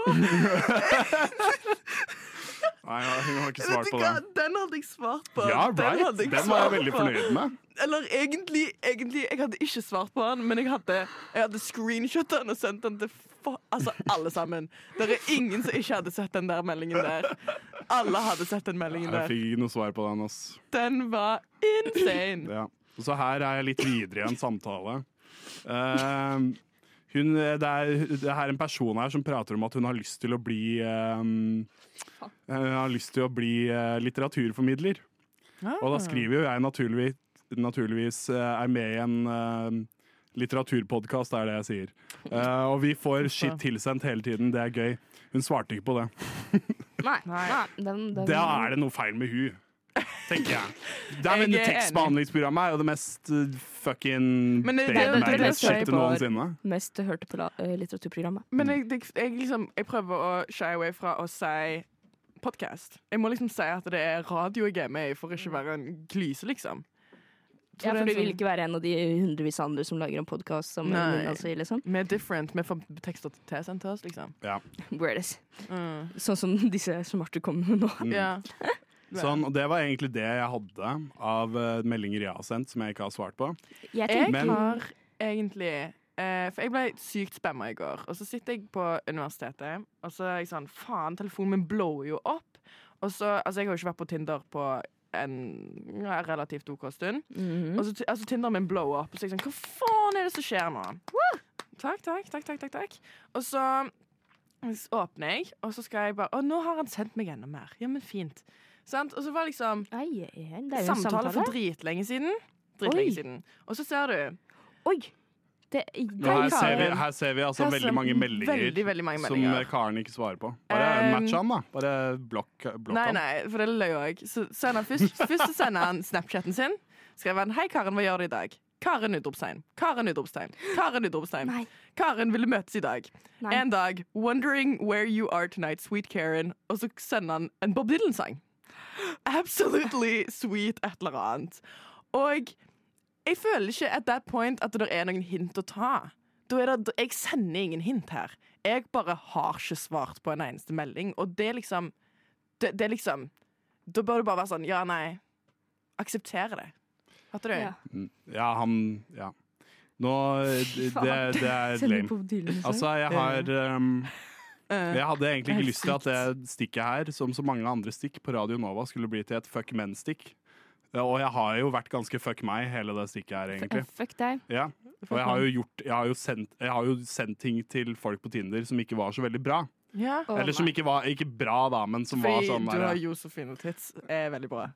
Speaker 2: Nei, hun har ikke svart
Speaker 5: Vet du
Speaker 2: på
Speaker 5: hva?
Speaker 2: den.
Speaker 5: Den hadde jeg svart på.
Speaker 2: Ja,
Speaker 5: den
Speaker 2: right!
Speaker 5: hadde jeg
Speaker 2: Den var jeg
Speaker 5: svart
Speaker 2: veldig
Speaker 5: på.
Speaker 2: fornøyd med.
Speaker 5: Eller egentlig, egentlig Jeg hadde ikke svart på han, men jeg hadde, jeg hadde screenshotet han og sendt den til fa altså, alle sammen. Det er ingen som ikke hadde sett den der meldingen der. Alle hadde sett den meldingen
Speaker 2: Jeg
Speaker 5: der.
Speaker 2: fikk ikke noe svar på den. ass.
Speaker 5: Den var insane.
Speaker 2: Ja. Så her er jeg litt videre i en samtale. Ehm, hun, det, er, det er en person her som prater om at hun har lyst til å bli ehm, Hun har lyst til å bli eh, litteraturformidler. Og da skriver jo jeg naturligvis, naturligvis eh, er med i en uh, litteraturpodkast, er det jeg sier. Eh, og vi får shit tilsendt hele tiden, det er gøy. Hun svarte ikke på det.
Speaker 3: Nei, nei, den, den,
Speaker 2: Da er det noe feil med hun. Tenker jeg. Det er
Speaker 5: Jeg
Speaker 2: men
Speaker 5: er
Speaker 2: Tekstbehandlingsprogrammet er jo det mest eh, fucking
Speaker 5: Men det-
Speaker 3: det-
Speaker 5: det-
Speaker 3: det- det-
Speaker 2: bedemagnet
Speaker 3: det-
Speaker 2: shitet noensinne.
Speaker 3: mest hørte på la- eh, litteraturprogrammet.
Speaker 5: Men jeg, det- jeg, liksom, jeg prøver å shy away fra å si podcast. Jeg må liksom si at det er radio jeg er med i, for ikke å være en klyse, liksom. Tror
Speaker 3: Ja,
Speaker 5: det
Speaker 3: for
Speaker 5: er en
Speaker 3: du vil
Speaker 5: sånn-
Speaker 3: ikke være en av de hundrevis andre som lager en podkast som
Speaker 5: Nei.
Speaker 3: Linda sier, liksom.
Speaker 5: Vi er different. Vi får tekster tilsendt til oss, liksom. Mm.
Speaker 3: Weirdest. Sånn som disse som Arthur kom med nå.
Speaker 2: Mm.
Speaker 5: Ja.
Speaker 2: Sånn, og det var egentlig det jeg hadde av eh, meldinger jeg har sendt som jeg ikke har svart på.
Speaker 3: Jeg
Speaker 5: Jeg
Speaker 2: Men-
Speaker 5: har egentlig eh, For jeg ble sykt spamma i går. Og så sitter jeg på universitetet, og så er jeg sånn Faen, telefonen min blower jo opp. Og så, altså Jeg har jo ikke vært på Tinder på en ja, relativt OK stund.
Speaker 3: Mm. Mhm.
Speaker 5: Og så, altså Tinderen min blower opp, og så er jeg sånn Hva faen er det som skjer nå? Takk, takk, takk, takk, takk, takk. Og så Så åpner jeg, og så skal jeg bare Å, nå har han sendt meg enda mer. Ja, men fint. Sant? Og så var liksom
Speaker 3: Ai, ai, ai, det er jo en
Speaker 5: samtale
Speaker 3: samtale.
Speaker 5: for dritlenge siden. Dritlenge
Speaker 3: Oi.
Speaker 5: siden. Og så ser du
Speaker 3: Oi! Det,
Speaker 2: Og her,
Speaker 3: den
Speaker 2: ser vi,
Speaker 3: karen.
Speaker 2: her ser vi altså
Speaker 5: Her ser
Speaker 2: veldig mange meldinger,
Speaker 5: veldig, veldig mange
Speaker 2: som
Speaker 5: meldinger.
Speaker 2: eh, Karen ikke svarer på. Bare
Speaker 5: Um,
Speaker 2: match han, da. Bare blokk, blokk
Speaker 5: Nei,
Speaker 2: han.
Speaker 5: nei, for det løy jeg. Så sender han først, først så sender han Snapchaten sin. Skrev han 'Hei, Karen, hva gjør du i dag?' Karen utropstegn. Karen utropstegn. Karen utropstegn.
Speaker 3: Nei.
Speaker 5: Karen ville møtes i dag.
Speaker 3: Nei.
Speaker 5: En dag 'Wondering where you are tonight, sweet Karen'. Og så sender han en Bob Dylan-sang. Absolutely sweet et eller annet. Og jeg føler ikke at that point at det er noen hint å ta. Da er det, jeg sender ingen hint her. Jeg bare har ikke svart på en eneste melding, og det er liksom det, det er liksom Da bør du bare være sånn Ja, nei. Akseptere det. Hørte du?
Speaker 3: Ja.
Speaker 2: Mm. Ja, han Ja. Nå Det,
Speaker 3: faen.
Speaker 2: det er
Speaker 3: Sender
Speaker 2: lame.
Speaker 3: Bob Dylan-sang.
Speaker 2: Altså, jeg har um,
Speaker 5: Eh,
Speaker 2: Jeg hadde egentlig ikke
Speaker 5: Helt
Speaker 2: lyst til at det stikket her, som så mange andre stikk på Radio Nova, skulle bli til et fuck men-stikk. Ja, Og jeg har jo vært ganske fuck meg, hele det stikket her, egentlig.
Speaker 3: Eh, Fuck deg.
Speaker 2: Ja. Og jeg har jo gjort Jeg har jo sendt, jeg har jo sendt ting til folk på Tinder som ikke var så veldig bra.
Speaker 5: ja.
Speaker 3: Å,
Speaker 2: Eller som
Speaker 3: nei.
Speaker 2: ikke var ikke bra, da, men som var
Speaker 5: Fordi
Speaker 2: sånn
Speaker 5: du har
Speaker 2: der,
Speaker 5: Josefine Tits er veldig bra.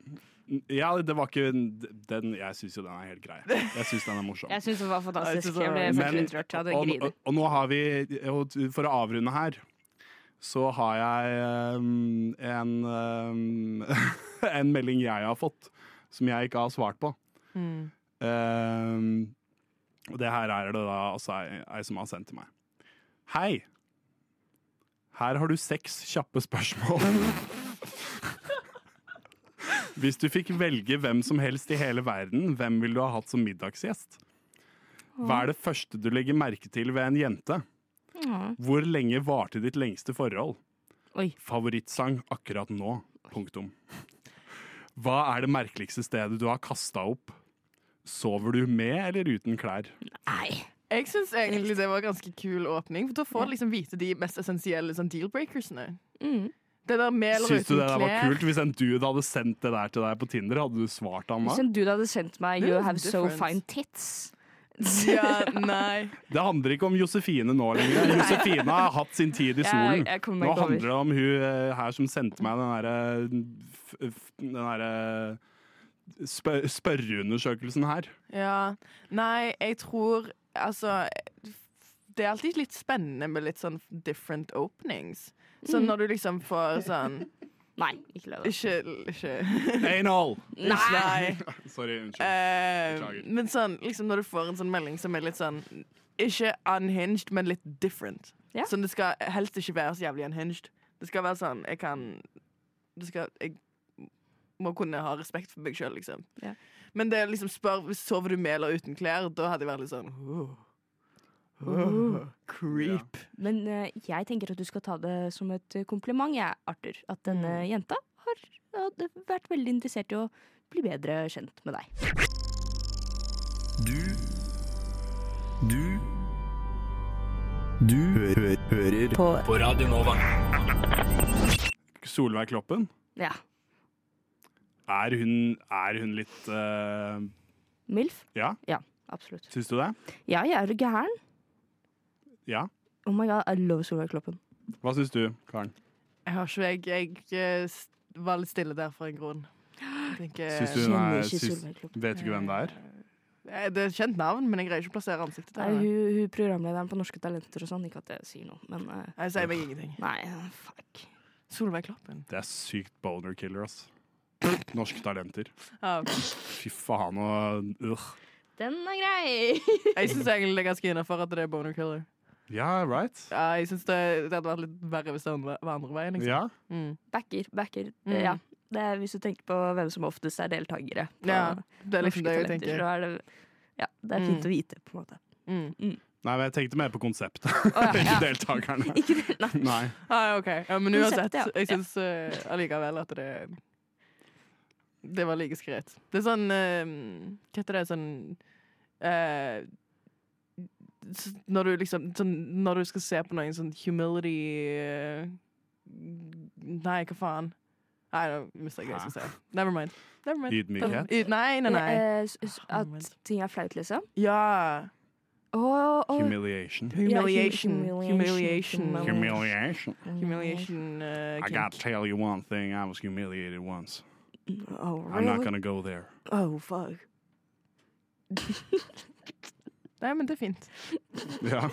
Speaker 2: Ja, det var ikke den Jeg syns jo den er helt grei. Jeg syns den er morsom.
Speaker 3: Jeg syns det var
Speaker 5: Jeg
Speaker 3: fantastisk.
Speaker 5: synes det
Speaker 3: Jeg
Speaker 5: var-
Speaker 3: ble faktisk
Speaker 2: Men-
Speaker 3: litt rørt. Jeg hadde
Speaker 2: og,
Speaker 3: griner.
Speaker 2: og, og nå har vi, og t- for å avrunde her, så har jeg ehm, en, ehm, en melding jeg har fått, som jeg ikke har svart på.
Speaker 5: Mm.
Speaker 2: Ehm, og det her er det da altså ei, ei som har sendt til meg. Hei! Her har du seks kjappe spørsmål. Hvis du fikk velge hvem som helst i hele verden, hvem ville du ha hatt som middagsgjest? Hva er det første du legger merke til ved en jente? Hvor lenge varte ditt lengste forhold?
Speaker 3: Oi.
Speaker 2: Favorittsang akkurat nå. Punktum. Hva er det merkeligste stedet du har kasta opp? Sover du med eller uten klær?
Speaker 3: Nei.
Speaker 5: Jeg syns egentlig det var en ganske kul åpning, for da får du liksom vite de mest essensielle sånn deal-breakersene.
Speaker 3: Mm.
Speaker 5: Det der med eller
Speaker 2: Syns du
Speaker 5: uten
Speaker 2: det der var
Speaker 5: klær.
Speaker 2: kult? Hvis en dude hadde sendt det der til deg på Tinder, hadde du svart han
Speaker 3: Hvis
Speaker 2: da?
Speaker 3: en dude hadde sendt meg
Speaker 5: Det
Speaker 3: 'You
Speaker 5: er jo
Speaker 3: have so
Speaker 5: different.
Speaker 3: fine tits'
Speaker 5: Ja, nei.
Speaker 2: Det handler ikke om Josefine nå lenger. Josefine har hatt sin tid i
Speaker 3: Jeg-
Speaker 2: solen.
Speaker 3: jeg
Speaker 5: oh
Speaker 3: kommer meg
Speaker 2: Nå
Speaker 3: ikke over.
Speaker 2: handler det om hun eh, her som sendte meg den derre f- f- Den derre spør spørreundersøkelsen her.
Speaker 5: Ja. Nei, jeg tror Altså Det er alltid litt spennende med litt sånn different openings. Så når du liksom får sånn
Speaker 3: Nei, ikke lov.
Speaker 5: Ikke, ikke
Speaker 2: Anal!
Speaker 5: Nei.
Speaker 2: Sorry, unnskyld.
Speaker 5: Eh,
Speaker 2: Beklager.
Speaker 5: men sånn, liksom når du får en sånn melding som er litt sånn Ikke unhinged, men litt different.
Speaker 3: Ja.
Speaker 5: Sånn, det skal helst ikke være så jævlig unhinged. Det skal være sånn Jeg kan det skal, Jeg må kunne ha respekt for meg sjøl, liksom.
Speaker 3: Ja.
Speaker 5: Men det er liksom spør sover du med eller uten klær, da hadde jeg vært litt sånn «Åh, åh, Creep.
Speaker 3: Men eh, jeg tenker at du skal ta det som et eh, kompliment, jeg, Arthur. At denne
Speaker 5: Mm.
Speaker 3: jenta har hadde vært veldig interessert i å bli bedre kjent med deg.
Speaker 8: Du Du Du hø hø hører på. Radio Nova.
Speaker 2: Solveig Kloppen,
Speaker 3: Ja.
Speaker 2: er hun, er hun litt eh,
Speaker 3: Milf?
Speaker 2: Ja,
Speaker 3: Absolutt.
Speaker 2: syns du det?
Speaker 3: Ja, jeg er jo gæren.
Speaker 2: Ja.
Speaker 3: Oh my god, I love Solveig Kloppen.
Speaker 2: Hva syns du, Karen?
Speaker 5: Jeg har ikke Jeg, jeg eh, s- var litt stille der for en grunn. Jeg tenker-
Speaker 2: Syns du hun
Speaker 3: Kjenner
Speaker 2: er
Speaker 3: ikke
Speaker 2: syns-
Speaker 3: Solveig Kloppen.
Speaker 2: Vet du ikke hvem det er?
Speaker 5: Eh, Det er et kjent navn, men jeg greier ikke å plassere ansiktet
Speaker 3: Nei,
Speaker 5: til henne.
Speaker 3: hun, hun programlederen på Norske Talenter og sånn. Ikke at det sier noe, men eh,
Speaker 5: Jeg sier meg ingenting.
Speaker 3: Nei, fuck.
Speaker 5: Solveig Kloppen.
Speaker 2: Det er sykt boner killer, ass. Norske talenter.
Speaker 5: Ja, ok.
Speaker 2: Fy faen og øh.
Speaker 3: Den er grei!
Speaker 5: Jeg syns egentlig det er ganske innafor at det er boner killer.
Speaker 2: Ja, right?
Speaker 5: Ja, jeg synes det, det hadde vært litt verre hvis det andre- var andre veien. Liksom.
Speaker 2: Ja.
Speaker 5: Mm.
Speaker 3: Backer, backer.
Speaker 5: Mm.
Speaker 3: Ja. Det er, hvis du tenker på hvem som oftest er deltakere. på-
Speaker 5: ja. Det er
Speaker 3: norske
Speaker 5: liksom det jeg
Speaker 3: talenter,
Speaker 5: tenker.
Speaker 3: så er det, ja, det er fint
Speaker 5: Mm.
Speaker 3: å vite, på en måte.
Speaker 5: Mm.
Speaker 2: Nei, men jeg tenkte mer på konseptet,
Speaker 3: ja,
Speaker 2: ikke
Speaker 3: ja.
Speaker 2: deltakerne.
Speaker 3: Ikke det, nei.
Speaker 2: Nei.
Speaker 5: Ah, ok. ja, men
Speaker 3: Konseptet,
Speaker 5: uansett,
Speaker 3: ja.
Speaker 5: jeg syns eh, allikevel at det Det var like skrevet. Det er sånn eh, Hva heter det? Sånn eh, s- Når du liksom sånn, Når du skal se på noen sånn humility eh, Nei, hva faen? Ah, nou, Nei, nå mista jeg hva jeg skulle si. Never mind. Never mind.
Speaker 2: Ydmykhet.
Speaker 5: Yd- Nei, nei, nei.
Speaker 3: Eh, s- s-
Speaker 5: Ah,
Speaker 3: At
Speaker 5: moment.
Speaker 3: ting er flaut, liksom?
Speaker 5: Ja.
Speaker 3: Å Å, å,
Speaker 2: Humiliation.
Speaker 5: Humiliation.
Speaker 3: Humiliation.
Speaker 5: Humiliation.
Speaker 2: Humiliation.
Speaker 5: Humiliation uh,
Speaker 2: I gotta tell you one thing. I was humiliated once.
Speaker 3: oh,
Speaker 2: I'm not
Speaker 3: really?
Speaker 2: gonna go there.
Speaker 3: Oh, fuck.
Speaker 5: Nei, men det er fint.
Speaker 2: Ja,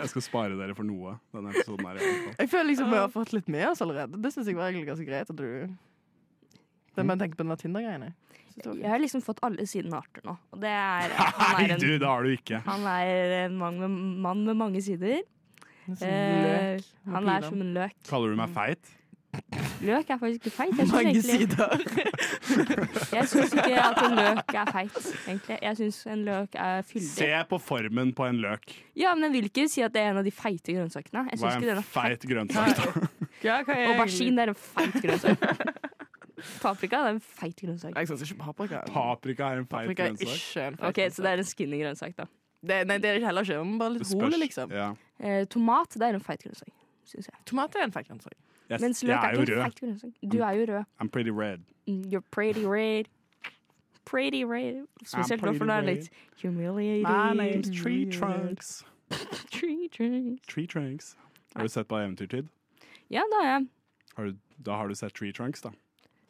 Speaker 2: jeg skal spare dere for noe. Denne episoden her. i hvert fall.
Speaker 5: Jeg føler liksom vi har fått litt med oss allerede. Det syns jeg var egentlig ganske greit. At du det man tenker på den der Tinder-greiene. Synes det var fint.
Speaker 3: Jeg har liksom fått alle sidene av Arthur nå. Og det er Han
Speaker 2: Nei,
Speaker 3: er
Speaker 2: du,
Speaker 3: en,
Speaker 2: det har du ikke.
Speaker 3: han er en mann, med, mann med mange sider.
Speaker 5: Det er som
Speaker 3: Eh,
Speaker 5: løk med
Speaker 3: han er
Speaker 5: piler.
Speaker 3: som en løk.
Speaker 2: Kaller du meg feit?
Speaker 3: Løk er faktisk ikke feit. Jeg syns
Speaker 5: Mange
Speaker 3: egentlig-
Speaker 5: sider.
Speaker 3: jeg syns ikke at en løk er feit, egentlig. Jeg syns en løk er fyldig.
Speaker 2: Se på formen på en løk.
Speaker 3: Ja, men jeg vil ikke si at det er en av de feite grønnsakene. Jeg
Speaker 2: Hva
Speaker 3: synes
Speaker 2: er
Speaker 3: ikke den
Speaker 2: en
Speaker 3: er feit.
Speaker 2: feit grønnsak? da?
Speaker 5: Ja, hva er egentlig-
Speaker 3: Aubergine er en feit grønnsak. Paprika det er en feit grønnsak.
Speaker 5: Jeg syns ikke paprika.
Speaker 2: Paprika er en feit
Speaker 5: Paprika er
Speaker 2: grønnsak.
Speaker 5: ikke en feit
Speaker 3: Ok, Så det er en skinny grønnsak, da.
Speaker 5: Det, nei, det er det heller ikke. Men bare
Speaker 2: Det
Speaker 5: litt
Speaker 2: spørs.
Speaker 5: hole, liksom.
Speaker 2: Ja.
Speaker 3: Eh, tomat det er en feit grønnsak, syns jeg.
Speaker 5: Tomat er en feit grønnsak.
Speaker 2: Jeg,
Speaker 3: Mens løk
Speaker 2: jeg
Speaker 3: er
Speaker 2: er jo
Speaker 3: ikke en
Speaker 2: rød. Mm.
Speaker 3: feit grønnsak. Du er jo rød.
Speaker 2: I'm pretty red.
Speaker 3: Mm, You're pretty red. Pretty red. Spesielt nå,
Speaker 2: pretty
Speaker 3: for nå er det
Speaker 2: red.
Speaker 3: litt humiliating.
Speaker 2: Tree Trunks.
Speaker 3: Tree Trunks.
Speaker 2: Tree Trunks. Har du sett på Eventyrtid?
Speaker 3: Ja, det har jeg.
Speaker 2: Har du, da har du sett Tree Trunks, da.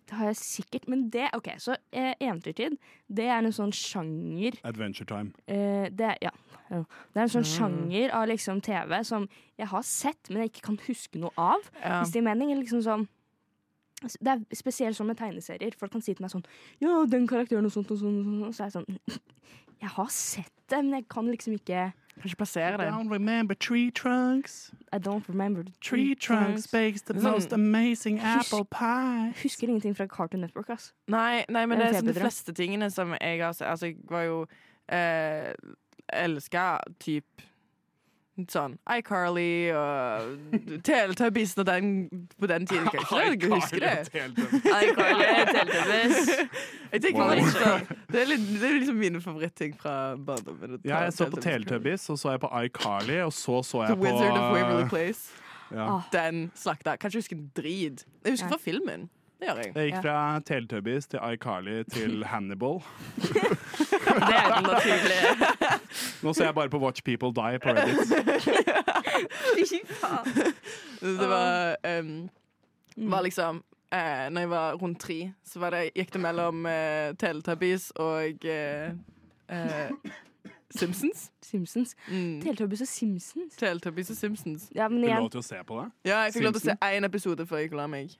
Speaker 3: Det har jeg sikkert. Men det OK, så eh, eventyrtid, det er en sånn sjanger
Speaker 2: Adventure Time.
Speaker 3: eh, det, er- ja, ja. det er en sånn sjanger av liksom TV som jeg har sett, men jeg ikke kan huske noe av.
Speaker 5: Ja.
Speaker 3: Hvis det gir mening. Liksom sånn det er spesielt sånn med tegneserier. Folk kan si til meg sånn Ja, den karakteren og sånt og sånn. Og sånn. Og så er jeg sånn Jeg har sett det, men jeg kan liksom ikke
Speaker 5: Kan ikke plassere det.
Speaker 2: remember Tree Trunks.
Speaker 3: I don't remember the
Speaker 2: bakes the
Speaker 5: most
Speaker 2: amazing
Speaker 3: apple
Speaker 2: pie.
Speaker 3: Husker ingenting fra Cartoon Network, ass.
Speaker 5: Nei, nei
Speaker 3: Det
Speaker 5: men det
Speaker 3: er
Speaker 5: er sånn de
Speaker 3: feberdrag.
Speaker 5: fleste tingene som jeg har sett Altså, jeg var jo eh, elska typ sånn iCarly og Teletubbies og den på den tiden. Kan ikke jeg husker det? Jeg tenker
Speaker 2: Wow.
Speaker 5: litt sånn- det, er litt, det er liksom mine favorittting fra barndommen.
Speaker 2: Ja, jeg så på Teletubbies, og så jeg på iCarly, og så så jeg
Speaker 5: The
Speaker 2: på
Speaker 5: Wizard of Waverly Ah, Place.
Speaker 2: ja.
Speaker 5: Den slakta. Kan ikke huske en drit. Jeg husker
Speaker 3: Ja.
Speaker 5: fra filmen. Det gjør jeg.
Speaker 2: Jeg gikk fra Teletubbies til iCarly til Hannibal.
Speaker 6: Det er jo naturlig.
Speaker 2: Nå ser jeg bare på Watch People Die på Reddit.
Speaker 5: Det var, ehm,
Speaker 3: Mm.
Speaker 5: var liksom eh, Når jeg var rundt tre, så var det, gikk det mellom eh, Teletubbies og eh, eh, Simpsons.
Speaker 3: Simpsons.
Speaker 5: Mm.
Speaker 3: Teletubbies og Simpsons.
Speaker 5: Teletubbies og Simpsons.
Speaker 3: Ja, men
Speaker 2: Du
Speaker 3: igjen,
Speaker 2: lov til å se på det?
Speaker 5: Ja, jeg fikk lov til å se
Speaker 2: Simpson?
Speaker 5: én episode før jeg la meg.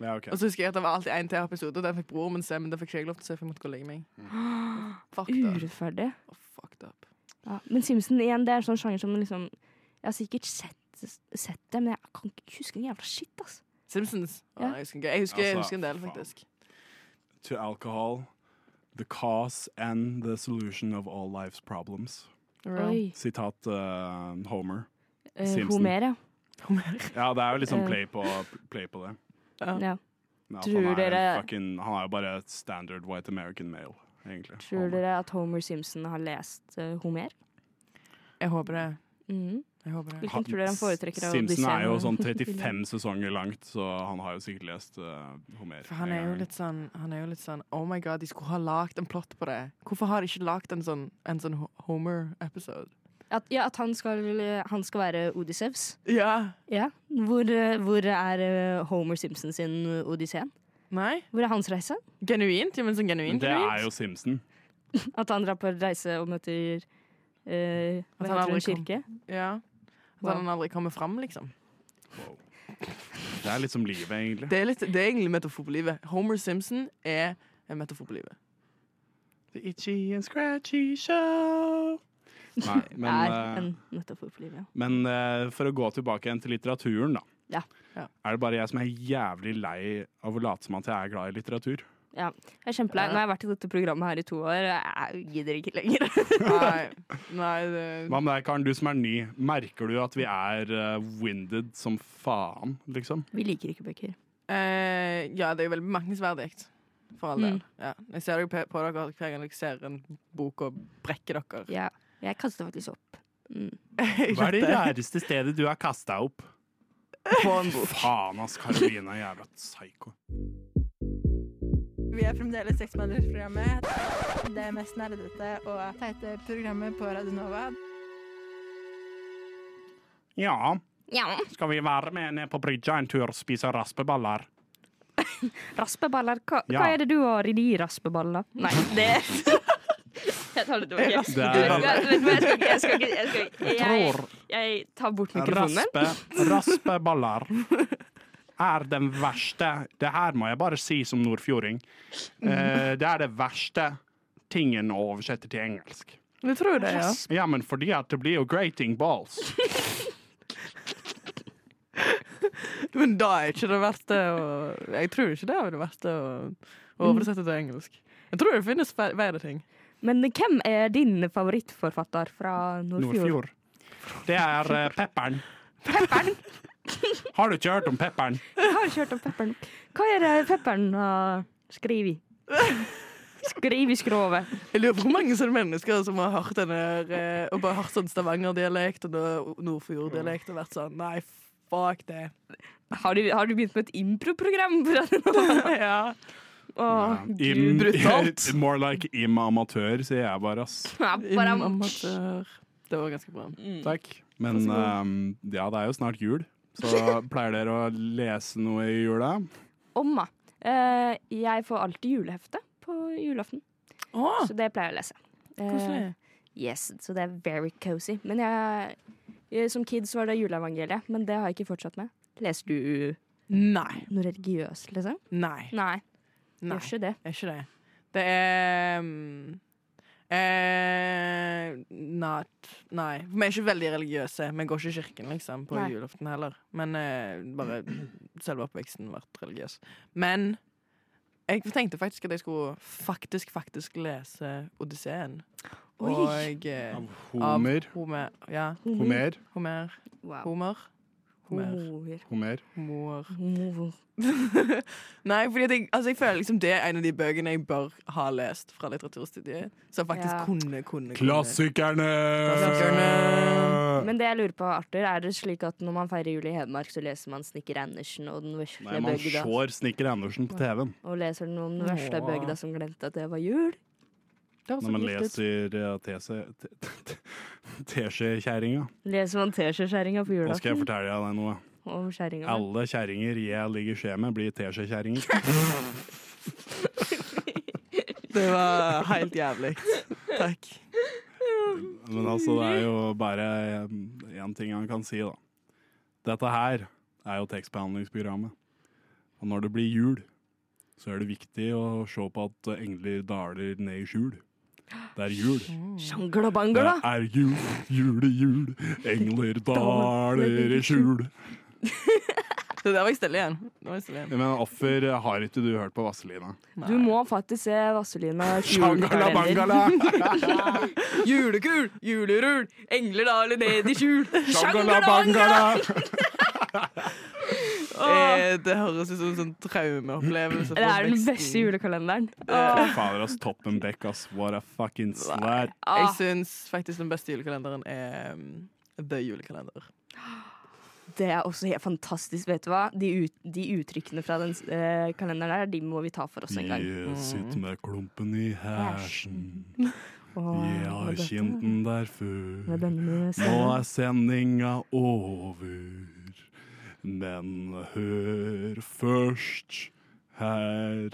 Speaker 2: Ja, ok.
Speaker 5: Og så husker jeg at det var alltid én til episode, og den fikk broren min se, men den fikk ikke jeg lov til å se, for jeg måtte gå og legge meg. Mm. Fucked up.
Speaker 3: urettferdig.
Speaker 5: Oh, fucked up.
Speaker 3: Ja, men Simpsons igjen, det er en sånn sjanger som liksom Jeg har sikkert sett, sett det, men jeg kan ikke huske en jævla shit, ass.
Speaker 5: Simpsons. Å,
Speaker 3: Ja.
Speaker 5: jeg, husker, ikke. jeg, husker, jeg
Speaker 2: Altså,
Speaker 5: husker en del,
Speaker 2: faen.
Speaker 5: faktisk.
Speaker 2: To alcohol, the cause and the solution of all life's problems.
Speaker 3: Oi.
Speaker 2: Sitat eh, Homer.
Speaker 3: Eh,
Speaker 2: Simpson.
Speaker 3: Homer, ja.
Speaker 2: Ja, det er jo liksom
Speaker 3: Eh.
Speaker 2: play på, play på det.
Speaker 3: ja.
Speaker 2: Men at
Speaker 3: Tror
Speaker 2: han, er
Speaker 3: dere-
Speaker 2: en fucking, han er jo bare et standard white American male, egentlig.
Speaker 3: Tror dere at Homer Simpson har lest eh, Homer?
Speaker 5: Jeg håper det.
Speaker 3: Mhm.
Speaker 5: Jeg håper det.
Speaker 3: Hvilken tror dere han foretrekker av
Speaker 2: Simpson
Speaker 3: disse-
Speaker 2: er jo sånn 35 sesonger langt, så han har jo sikkert lest eh, Homer.
Speaker 5: For han
Speaker 2: en
Speaker 5: er jo
Speaker 2: gang.
Speaker 5: litt sånn, han er jo litt sånn Oh my god, de skulle ha lagd en plott på det. Hvorfor har de ikke lagd en sånn, en sånn Ho- Homer-episode?
Speaker 3: At, ja, at han skal, han skal være Odysseus.
Speaker 5: Ja.
Speaker 3: Ja. Hvor, eh, hvor er eh, Homer Simpson sin Odysseen?
Speaker 5: Nei?
Speaker 3: Hvor er hans reise?
Speaker 5: Genuint? Ja, men sånn
Speaker 2: Men
Speaker 5: genuint,
Speaker 2: det
Speaker 5: genuint.
Speaker 2: er jo Simpson.
Speaker 3: At han drar på reise og møter eh,
Speaker 5: At
Speaker 3: hva heter
Speaker 5: han
Speaker 3: det, en
Speaker 5: aldri kom.
Speaker 3: kirke?
Speaker 5: Ja. At
Speaker 3: Wow.
Speaker 5: han aldri kommer fram, liksom.
Speaker 2: Wow. Det er litt som livet, egentlig.
Speaker 5: Det er, litt, det er egentlig metafor på livet. Homer Simpson er en metafor på livet.
Speaker 2: The itchy and scratchy show. Nei, men,
Speaker 3: er
Speaker 2: eh,
Speaker 3: en metafor for livet.
Speaker 2: men eh, for å gå tilbake igjen til litteraturen, da.
Speaker 3: Ja.
Speaker 5: Ja.
Speaker 2: Er det bare jeg som er jævlig lei av å late som at jeg er glad i litteratur?
Speaker 3: Jeg er kjempelei. Nå har jeg vært i dette programmet her i to år. Jeg gidder ikke lenger.
Speaker 5: Nei, nei det,
Speaker 2: Hva med deg, Karen, du som er ny. Merker du at vi er eh, winded som faen, liksom?
Speaker 3: Vi liker ikke bøker.
Speaker 5: eh, Ja, det er jo veldig bemerkelsesverdig. For all del.
Speaker 3: Mm.
Speaker 5: Ja. Jeg ser jo på på dere hver gang dere ser en bok og brekker dere.
Speaker 3: Ja. Jeg kaster faktisk opp. Mm.
Speaker 2: Hva er det rareste stedet du har kasta opp? På en bok. Faen, ass. Karoline er jævla psyko.
Speaker 9: Vi er fremdeles Sexbehandlingsprogrammet. Det mest nerdete og teite programmet på Radio Nova.
Speaker 2: Ja,
Speaker 3: Ja.
Speaker 2: skal vi være med ned på brygga en tur og spise raspeballer?
Speaker 3: Raspeballer. Hva,
Speaker 2: Ja.
Speaker 3: hva er det du har i de raspeballer? Nei, det Jeg tar det tilbake.
Speaker 2: Det
Speaker 3: Vet du
Speaker 2: er
Speaker 3: hva, vet du hva, jeg skal ikke Jeg, skal ikke, jeg, skal ikke, jeg,
Speaker 2: Tror-
Speaker 3: jeg tar bort mikrofonen min.
Speaker 2: raspe, raspeballer er den verste Det her må jeg bare si som nordfjording. Eh, det er det verste tingen å oversette til engelsk.
Speaker 5: Vi tror det, ja.
Speaker 2: Ja, men fordi at det blir jo grating balls.
Speaker 5: Men da er ikke det verste å Jeg tror ikke det er det verste å å oversette til engelsk. Jeg tror det finnes fe- verre ting.
Speaker 3: Men hvem er din favorittforfatter fra Nordfjord?
Speaker 2: Nordfjord. Det er eh, pepperen.
Speaker 3: Pepperen!
Speaker 2: Har du ikke hørt om pepperen?
Speaker 3: Jeg har ikke hørt om Pepperen. Hva er det Pepperen har skrevet? Skriv i skrovet.
Speaker 5: Jeg lurer på hvor mange sånne mennesker som har hørt denne eh, og bare hørt sånn Stavanger-dialekt og da Nordfjord-dialekt og vært sånn Nei, fuck det.
Speaker 3: Har du, har du begynt med et improprogram? for at-
Speaker 5: ja.
Speaker 3: Åh,
Speaker 2: Im-
Speaker 5: Brutalt.
Speaker 2: More like im amatør, sier jeg bare, ass.
Speaker 3: ja, bare- Mm.
Speaker 5: Amatør. Det var ganske bra.
Speaker 2: Takk. Men ehm, ja, det er jo snart jul. Så pleier dere å lese noe i jula?
Speaker 3: Omma. Eh, jeg får alltid julehefte på julaften,
Speaker 5: Å,
Speaker 3: så det pleier jeg å lese. Eh,
Speaker 5: Ah. koselig.
Speaker 3: yes, så det er very cozy. Men jeg, jeg, som kid så var det juleevangeliet, men det har jeg ikke fortsatt med. Leser du
Speaker 5: Nei.
Speaker 3: noe religiøst, liksom?
Speaker 5: Nei.
Speaker 3: Nei,
Speaker 5: Nei.
Speaker 3: gjør ikke det.
Speaker 5: Det er ikke det. Det er mm, eh, Not Nei. Vi er ikke veldig religiøse. Vi går ikke i kirken liksom, på
Speaker 3: Nei.
Speaker 5: julaften heller. Men eh, bare selve oppveksten vært religiøs. Men jeg tenkte faktisk at jeg skulle faktisk, faktisk lese Odysseen.
Speaker 3: Oi.
Speaker 5: Og eh,
Speaker 2: Homer.
Speaker 5: Av Homer. Ja.
Speaker 2: Homer.
Speaker 5: Homer.
Speaker 3: Wow.
Speaker 5: Homer. Homer.
Speaker 3: Homoer.
Speaker 2: Homer.
Speaker 5: Homer.
Speaker 3: Homo.
Speaker 5: Nei, fordi at jeg, altså jeg føler liksom det er en av de bøkene jeg bør ha lest fra litteraturstudiet. Så jeg faktisk
Speaker 3: Ja.
Speaker 5: kunne, kunne, kunne.
Speaker 2: Klassikerne!
Speaker 5: Klassikerne.
Speaker 3: Men det jeg lurer på, Arthur, er det slik at når man feirer jul i Hedmark, så leser man Snikker Andersen og den vesle
Speaker 2: Nei, man
Speaker 3: bøgda?
Speaker 2: ser Snikker Andersen på TV-en
Speaker 3: Og leser den om den vesle
Speaker 5: Åh.
Speaker 3: bøgda som glemte at det var jul?
Speaker 5: Det var så
Speaker 2: når man
Speaker 5: gitt ut.
Speaker 2: leser eh, tese- te- te- Teskjekjerringa.
Speaker 3: Leser man teskjeskjæringa på
Speaker 2: Nå skal jeg
Speaker 3: julaften?
Speaker 2: fortelle deg noe.
Speaker 3: Og skjæringa.
Speaker 2: Alle kjerringer jeg ligger skje med, blir teskjekjerringer.
Speaker 5: Det var helt jævlig. Takk.
Speaker 2: Men altså, det er jo bare én ting han kan si, da. Dette her er jo tekstbehandlingsprogrammet. Og når det blir jul, så er det viktig å se på at engler daler ned i skjul. Det er jul.
Speaker 3: Sjangla
Speaker 2: Det
Speaker 3: bangla!
Speaker 2: er jul, julejul, engler daler i skjul.
Speaker 5: Så der var jeg stille igjen. Nå var jeg stille igjen.
Speaker 2: Men offer har ikke du hørt på Vazelina?
Speaker 5: Nei.
Speaker 3: Du må faktisk se Vazelina
Speaker 2: Shangala
Speaker 3: julekalender.
Speaker 2: bangala!
Speaker 5: Julekul, julerull, engler daler ned i skjul.
Speaker 2: Shangala bangala!
Speaker 5: Eh, det høres ut som en sånn traumeopplevelse. Eh,
Speaker 3: Det er den beste julekalenderen.
Speaker 2: Fader, ass. Toppen Beck, ass. What a fucking slut.
Speaker 5: Jeg
Speaker 3: Ah,
Speaker 5: syns faktisk den beste julekalenderen er um, The Julekalender.
Speaker 3: det er også helt fantastisk, vet du hva. De, ut, de uttrykkene fra den eh, kalenderen der, de må vi ta for oss en gang. Mm.
Speaker 2: Jeg sitter med klumpen i hersen.
Speaker 3: Åh,
Speaker 2: Jeg har
Speaker 3: med dette-
Speaker 2: kjent den der
Speaker 3: med
Speaker 2: før.
Speaker 3: denne
Speaker 2: Nå
Speaker 3: stemmen.
Speaker 2: er sendinga over. Men hør først her.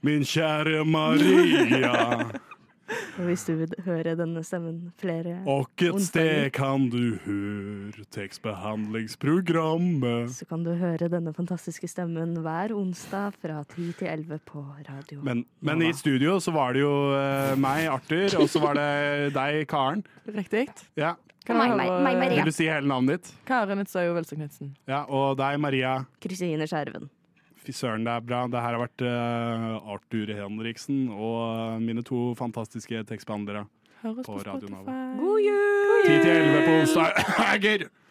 Speaker 2: Min kjære Maria,
Speaker 3: Og hvis du vil høre denne stemmen flere
Speaker 2: og et sted kan du høre tekstbehandlingsprogrammet.
Speaker 3: så kan du høre denne fantastiske stemmen hver onsdag fra 10 til 11 på radio.
Speaker 2: Men, men i studio så var det jo eh, meg, Arthur, og så var det deg, Karen.
Speaker 5: Riktig?
Speaker 2: Ja.
Speaker 5: Kan jeg høre-
Speaker 2: Vil du si hele navnet ditt?
Speaker 5: Karen Etsøy og Velsen Knutsen.
Speaker 2: Ja, og deg, Maria.
Speaker 3: Kristine Skjerven.
Speaker 2: Fy søren, det er bra. Det her har vært eh, Arthur Henriksen og eh, mine to fantastiske tekstbehandlere.
Speaker 5: Høres
Speaker 2: På
Speaker 5: på
Speaker 2: Radio Nova.
Speaker 5: Spotify.
Speaker 3: God jul!
Speaker 2: 10 til 11 på onsdager.